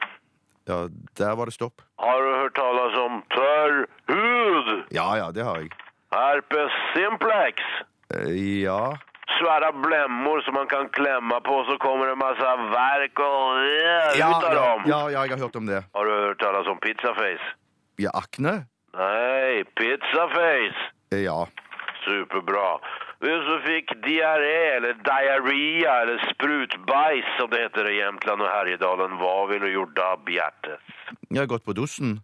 Ja, der var det stopp. Har du hört talas om törr hud? Ja ja, det har jeg. Herpes simplex. Eh, ja. Svära blämmor som man kan klämma på så kommer det en massa verk och yeah, Ja, utav ja, dem. ja, ja, jeg har hørt om det. Har du hört talas om pizzaface? Ja, akne? Nej, pizzaface. Eh, Ja. Superbra. Du som fick diarré eller diarrhea eller sprutbajs som det heter i Jämtland och Härjedalen. Vad vill du gjorda, Bjertes? Jeg har gått på dosen.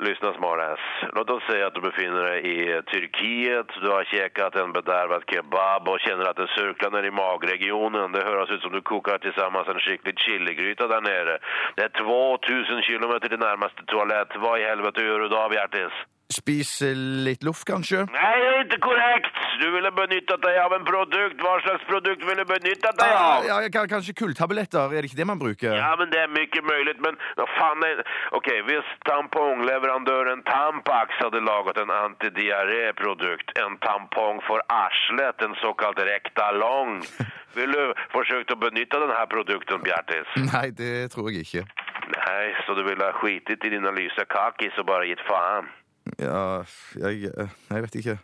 Lyssna smartass. Låt oss säga att du befinner dig i Turkiet. Du har käkat en bedärvad kebab och känner att det surklar ner i magregionen. Det hörs ut som du kokar tillsammans en skicklig chiligryta där nere. Det är 2000 kilometer till närmaste toalett. Vad i helvete gör du då, Bjertis? Spise litt luft, kanskje? Nej, det är inte korrekt! Du ville benytta dig av en produkt. Vad slags produkt vill du benytta dig av? Ja, ja, ka- kanskje kulltabletter? Er det ikke det man bruker? Ja, men det är mycket möjligt, men vad fan är... Okej, visst tampongleverantören Tampax hade lagat en antidiarréprodukt. En tampong för arslet, en så kallad rektalong. Vill du försökt att benytta den här produkten, Bjartis? Nei, det tror jeg ikke. Nej, så du vill ha skitit i dina lysa kakis och bara gett fan. Ja, jeg eh, Nei, jeg vet ikke.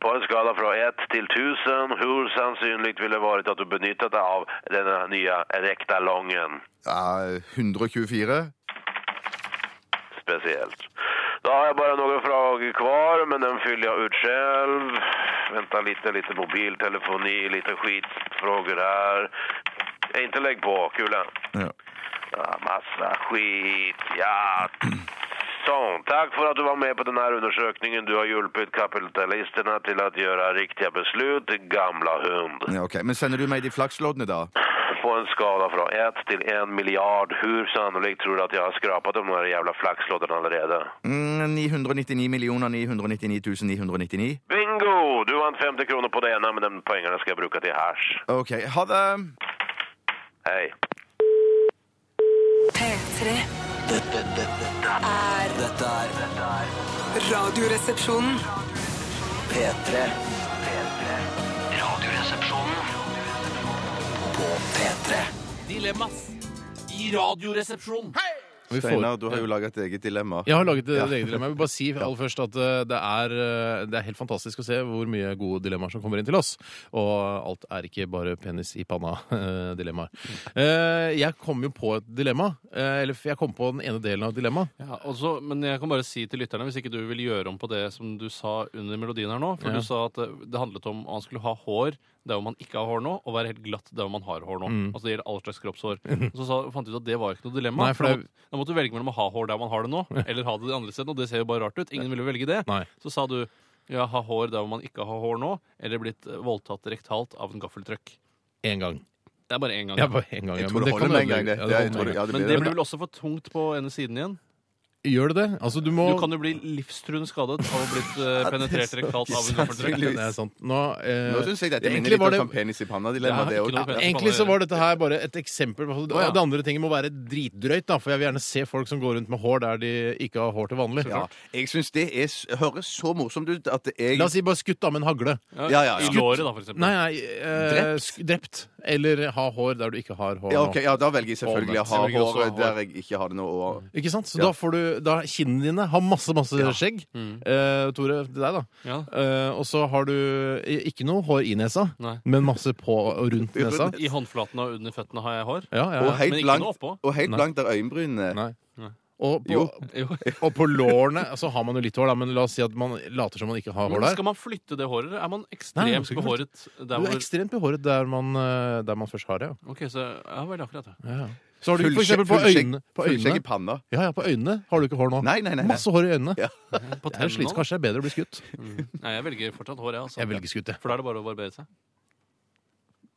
På en skala från 1 till 1000, hur sannolikt ville det varit att du benyttat dig av denna nya rektalongen? Ja, 124? spesielt. Da har jeg bare noe frågor kvar, men den fyller jeg ut selv. Vänta lite, lite mobiltelefoni, lite skitfrågor her. Eh, Ikke legg på, kula. Ja. Ja, massa skit, ja. Sånn, takk for at du var med på denne undersøkningen. Du har hjulpet kapitalistene til å gjøre riktige beslut, gamla hund. Ja, ok. Men sender du meg de flaksloddene, da? På en skala fra 1 til 1 miljard, hvor sannolikt tror du at jeg har skrapat de der jævla flaksloddene allerede? Mm, 999 999 999. Bingo! Du vant 50 kroner på det ene, men de pengene skal jeg bruke til hasj. OK. Ha det. Hei. P3 Dette, dette, er Dette er dette er Radioresepsjonen. P3 P3 Radioresepsjonen På P3 Dilemmas i Radioresepsjonen. Vi får- Steinar, du har jo laga et eget dilemma. Jeg har laget et Ja. eget dilemma. Jeg vil bare si aller først at eh, det er, eh, det er helt fantastisk å se hvor mye gode dilemmaer som kommer inn til oss. Og alt er ikke bare penis i panna-dilemmaer. Eh, Jeg kom jo på et dilemma. eh, Eller jeg kom på den ene delen av et dilemma. Ja, også, men jeg kan bare si til lytterne, hvis ikke du vil gjøre om på det som du sa under melodien her nå For Ja. du sa at eh, det handlet om om man skulle ha hår der hvor man ikke har hår nå, og være helt glatt der hvor man har hår nå. Mm. Altså det gjelder all slags kroppshår. Mhm. Og så sa, fant du ut at det var ikke noe dilemma. Nei, for da, det- måtte, da måtte du velge mellom å ha hår der man har det nå, eller ha det de andre stedene, og det ser jo bare rart ut. Ingen ville velge det. Så sa du ja, ha hår der hvor man ikke har hår nå, eller blitt eh, voldtatt rektalt av en gaffeltrøkk. Én gang. Det er bare én gang. Ja, bare én gang, Jeg ja, tror men det det holder kan med en ødelegge- gang, det. Ja, det Jeg holder tror- med en gang. ja, det blir men det det. blir vel også for tungt på ene siden igjen? Gjør det det? Altså, du må Du kan jo bli livstruende skadet av å ha blitt eh, Ja, det er penetrert sant. rektalt av en Sannsynligvis. gaffeltrøkk. Det er sant. Nå, eh, Nå synes jeg dette minner egentlig litt var om det- sånn penis i panna-dilemma. Ja, det ikke også. noe- Egentlig så var dette her bare et eksempel. Altså, Å, ja. Det andre tinget må være dritdrøyt, da, for jeg vil gjerne se folk som går rundt med hår der de ikke har hår til vanlig. Ja. Jeg syns det er, s- høres så morsomt ut at jeg La oss si bare skutt av med en hagle. Ja, ja, ja. I låret, da, for eksempel. Nei, nei eh, Drept? sk- drept. Eller ha hår der du ikke har hår. ja, nå. ok, ja, da velger jeg selvfølgelig å ha Omvendt. håret der jeg ikke har det nå. Og... Ikke sant? Så Ja. da får du da Kinnene dine har masse, masse skjegg. Mm. Eh, Tore, til deg, da. Eh, og så har du i- ikke noe hår i nesa, Nei. men masse på og rundt nesa. I håndflaten og under føttene har jeg hår. Ja, ja, ja. Og helt Men ikke noe blankt, oppå. og helt Nei. blankt er øyenbrynene. Nei. Og på, og på lårene så har man jo litt hår, da, men la oss si at man later som man ikke har hår Men der. skal man flytte det håret? eller Er man Nei, man ekstremt skal ikke behåret flytte. der Du er hvor ekstremt behåret der man, eh, der man først har det. Ja. Ok, så Ja vel, akkurat, ja. Ja, ja. Så har du for Fullskjegg- eksempel på fullskjegg- øynene, på fullskjegg øynene. i panna. Ja, ja, på øynene har du ikke hår nå. Masse hår i øynene. På Det er jo tennene Mm. slitt. også. Kanskje det er bedre å bli skutt. Nei, jeg velger fortsatt hår, jeg. Altså. Jeg velger skutt, jeg. For da er det bare å barbere seg.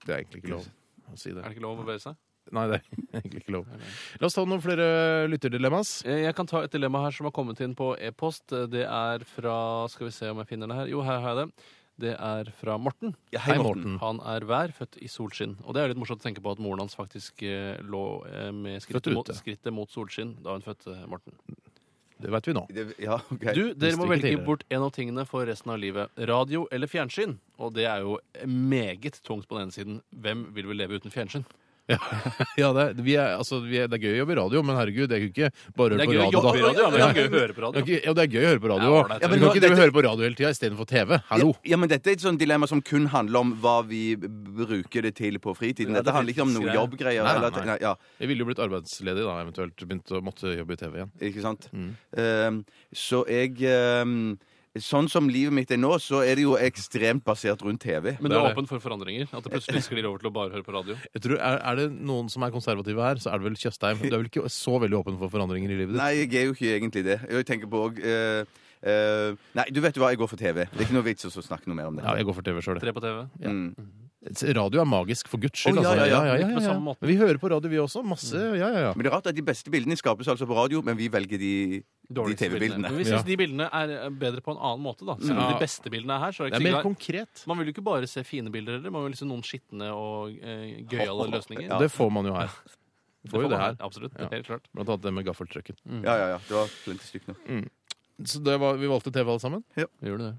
Det er egentlig ikke lov å si det. Er det ikke lov å barbere seg? Nei, det er egentlig ikke lov. La oss ta noen flere lytterdilemmas. Eh, Jeg kan ta et dilemma her som har kommet inn på e-post. Eh, Det er fra Skal vi se om jeg finner det her. Jo, her har jeg det. Det er fra Morten. hei, Hei, Morten. Morten. Han er vær, født i solskinn. Og det er litt morsomt å tenke på at moren hans faktisk eh, lå eh, med skrittet Født mot, ute. skrittet mot solskinn da hun fødte Morten. Det vet vi nå. Du, dere må velge bort bort en av tingene for resten av livet. Radio eller fjernsyn? Og det er jo meget tungt på den ene siden. Hvem vil vel leve uten fjernsyn? Ja, det, er- vi er, altså, vi er, det er gøy å jobbe i radio, men herregud, det er jo ikke bare å Det høre på er gøy å radio. jobbe i radio, ja, men det er Ja. gøy å høre på radio. Ja, ikke- Ja, det er gøy å høre på radio. Ja, også. ålreit. Ja, men Du kan nå- ikke drive og høre på radio hele tida istedenfor TV. Hallo! Ja, men Dette er et sånt dilemma som kun handler om hva vi b- bruker det til på fritiden. Ja, Dette handler ikke om noe fritidsgreier. jobbgreier. Nei, eller nei, at- nei. nei, ja. Jeg ville jo blitt arbeidsledig da, eventuelt begynt å måtte jobbe i TV igjen. Mm. Ikke sant? Ehm, så jeg ehm, Sånn som livet mitt er nå, så er det jo ekstremt basert rundt TV. Men du er åpen for forandringer? At det plutselig sklir over til å bare høre på radio? Jeg tror, er, er det noen som er konservative her, så er det vel Tjøstheim. Du er vel ikke så veldig åpen for forandringer i livet ditt? Nei, jeg er jo ikke egentlig det. Jeg tenker på òg Nei, du vet jo hva, jeg går for TV. Det er ikke noe vits i å snakke noe mer om det. Mm. Ja, jeg går for TV sjøl. Tre på TV? Ja. Radio er magisk, for guds Å, skyld. ja, altså. ja, ja. ja, Litt på samme måte. Mm. Men vi hører på radio, vi også. Masse. Ja, ja, ja. Men det er rart at de beste bildene skapes altså på radio, men vi velger de, de TV-bildene. Men vi syns de bildene er eh, bedre på en annen måte, da. Selv om Ja. de beste bildene er her. Så er Det er mer konkret. Man vil jo ikke bare se fine bilder heller. Man vil se noen skitne og eh, gøyale løsninger. Ja. Det får man jo her. Du Det får jo får det man her. her, absolutt. Ja. Helt klart. Blant annet det med gaffeltrucken. Ja, ja, ja. Det var plenty stygt nå. Mm. Så det var, vi valgte TV alle sammen? Ja. Vi gjorde det.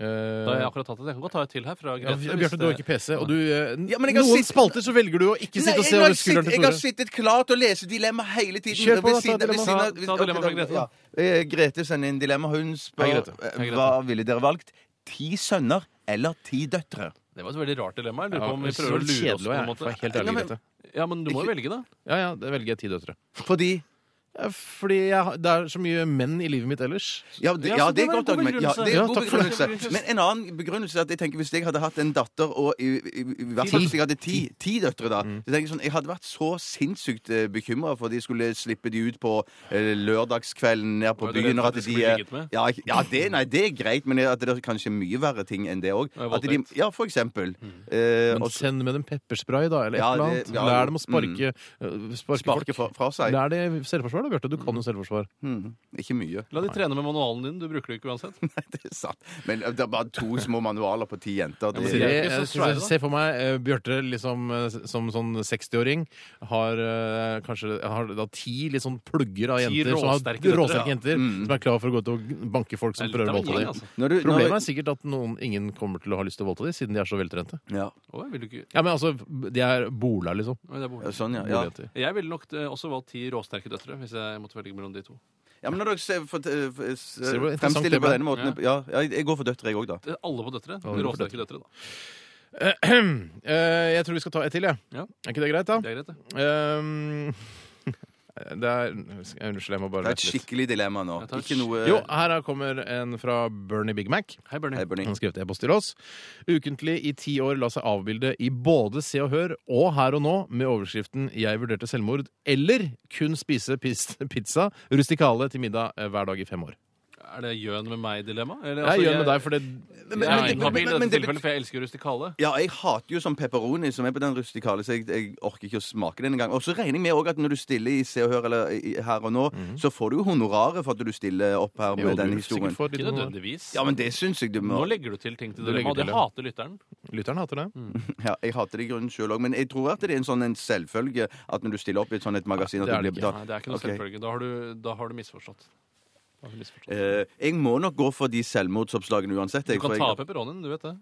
Eh, Da har jeg akkurat tatt et. Jeg kan godt ta et til her. fra ja, Grete, hvis Bjarte, du har det- ikke PC, og du eh, Ja, men jeg har Noen sitt- spalter så velger du å ikke sitte og se jeg, har over skulderen sitt- til jeg har Tore. sittet klar til å lese dilemma hele tiden. Kjør på, Ved da, ta siden- ved dilemma. siden av- Ta- ta dilemma fra Grete, da. Eh, Grete sender inn dilemma. Hun spør eh, Hei, Grete. Hei, Grete. hva ville dere valgt. Ti sønner eller ti døtre? Det var et veldig rart dilemma. Jeg lurer Ja, på om vi det prøver å var lure oss kjedelig, og på jeg noen måte. var helt ærlig, Ja, men- Grete. Ja, men du må jo velge, da. Ja, ja, det velger jeg ti døtre. Fordi Fordi jeg, har- det er så mye menn i livet mitt ellers. Ja, det, ja, det er godt argument. Ja, det er Ja, en god takk for det. begrunnelse. Men en annen begrunnelse er at jeg tenker hvis jeg hadde hatt en datter, og i, i, i hvert fall hvis jeg hadde ti, ti døtre da, Mm. så tenker jeg sånn, jeg hadde vært så sinnssykt bekymra for de skulle slippe de ut på eh, lørdagskvelden ned på Var du redd byen. for og at de at de, eh, skulle bli ligget med? ja, ikke- ja det, nei, det er greit, men at det er kanskje mye verre ting enn det òg. Ja, voldtekt. Ja, for eksempel. Mm. Eh, Men og så- send med dem pepperspray, da, eller et Ja, eller det- annet. ja, Lær dem å sparke, mm. øh, sparke, Sparke fra- folk. fra seg. Lær dem selvforsvar, da, Bjarte. Du kan jo selvforsvar. Mm, Ikke mye. La de trene med manualen din. Du bruker det ikke uansett. Det er sant. Men det er bare to små manualer på ti jenter. Jeg, jeg, jeg ser for meg eh, Bjarte liksom, eh, som sånn 60-åring har eh, kanskje har da ti litt sånn plugger av Ti jenter som, har, råsterke døtre, råsterke ja. jenter, Mm. som er klar for å gå ut og banke folk som Det er litt prøver å av en voldta gjeng, dem. altså. Når du- når- Problemet er sikkert at noen, ingen kommer til å ha lyst til å voldta dem, siden de er så veltrente. Ja. Å, jeg vil jo ikke... Ja, men altså, De er bola, liksom. Oi, det er bolig. Sånn, Boligjenter. Jeg ville nok eh, også valgt ti råsterke døtre hvis jeg måtte velge mellom de to. Ja, men når dere ser- fort- eh, f- s- Ser du hvor interessant det fremstiller det på ble? denne måten ja. ja, jeg går for døtre, jeg òg, da. Det er Alle på døtre. Alle på Råsterke døtre, da. Eh, jeg tror vi skal ta et til, jeg. Er ikke det greit, da? Det er greit, Eh, det er Unnskyld, jeg må bare Det er et lete litt. skikkelig dilemma nå. Ikke noe Jo, her er- kommer en fra Bernie Big Mac. Hei, Bernie. Han har skrevet e-post til oss. Ukentlig i ti år la seg avbilde i både Se og Hør og Her og Nå med overskriften 'Jeg vurderte selvmord' eller 'Kun spise pis- pizza rustikale til middag eh, hver dag i fem år'. Er det gjøn med meg-dilemma? Eller, altså, Jeg gjør med deg, for det Jeg er men- inhabil i men- men dette det tilfellet, for jeg elsker rustikale. Ja, jeg hater jo sånn pepperoni som er på den rustikale, så jeg, jeg orker ikke å smake den engang. Og så regner jeg med også at når du stiller i Se og Hør eller i, i her og nå, så får du jo honoraret for at du stiller opp her med Mhm. Jo, du den vil historien. sikkert få litt Ikke honorar. nødvendigvis. Ja, men det syns jeg du må Nå legger Mm. du til ting til Du dilemma, legger og det til, ja. hater lytteren. Lytteren hater det. Ja, jeg hater det i grunnen sjøl òg, men jeg tror at det er en sånn en selvfølge at når du stiller opp i et sånt et magasin at Det er, du det blir ikke. betalt. Nei, det er ikke noe Ok. selvfølge. Da har du, da har du misforstått. Da har du misforstått. Eh, jeg må nok gå for de selvmordsoppslagene uansett. Du jeg, for kan jeg- ta av pepperonien, du vet det.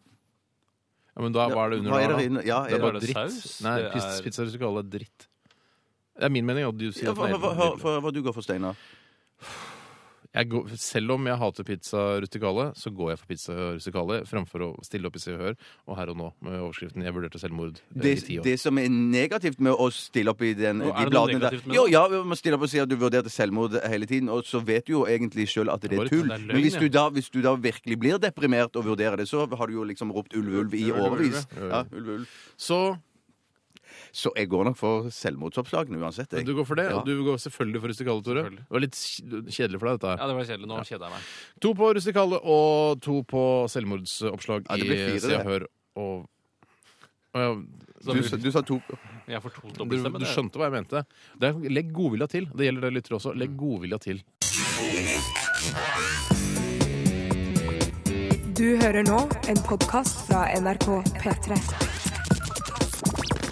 Ja, men da, hva er det under Hva er der, det da? inne- ja, det er er bare det dritt. saus? Nei, Det pis- er- pizza rustikale er dritt. Det er min mening. og Du sier Ja, at den hva, er hva, hva, helt nydelig. hva, hva du går for, Steinar? jeg går, selv om jeg hater pizza rustikale, så går jeg for pizza rustikale framfor å stille opp i Se og Hør og Her og Nå med overskriften 'Jeg vurderte selvmord' eh, Det, i ti år. det som er negativt med å stille opp i den, Nå, de er det noe bladene der negativt med Jo, det? ja, man stiller opp og sier at du vurderte selvmord hele tiden, og så vet du jo egentlig sjøl at det Bare er ikke tull. det er løgn, Men hvis ja. du, da, hvis du da virkelig blir deprimert og vurderer det, så har du jo liksom ropt ulv, ulv i Ulv, ulv, årevis. ulv. Ja, ulv, ulv. Så Så jeg går nok for selvmordsoppslagene uansett. jeg. du går for det, Ja. og du går selvfølgelig for rustikale, Tore. Det var litt kj- kjedelig for deg, dette her. Ja, det var kjedelig. Nå kjeder jeg meg. To på rustikale og to på selvmordsoppslag Ja, det blir i fire, Se og det. Hør og Å, ja. Du sa- du sa to. Jeg får to Du, dobbeltstemme. du skjønte hva jeg mente. Det er, legg godvilja til. Det gjelder dere lyttere også. Legg godvilja til. Du hører nå en podkast fra NRK P3.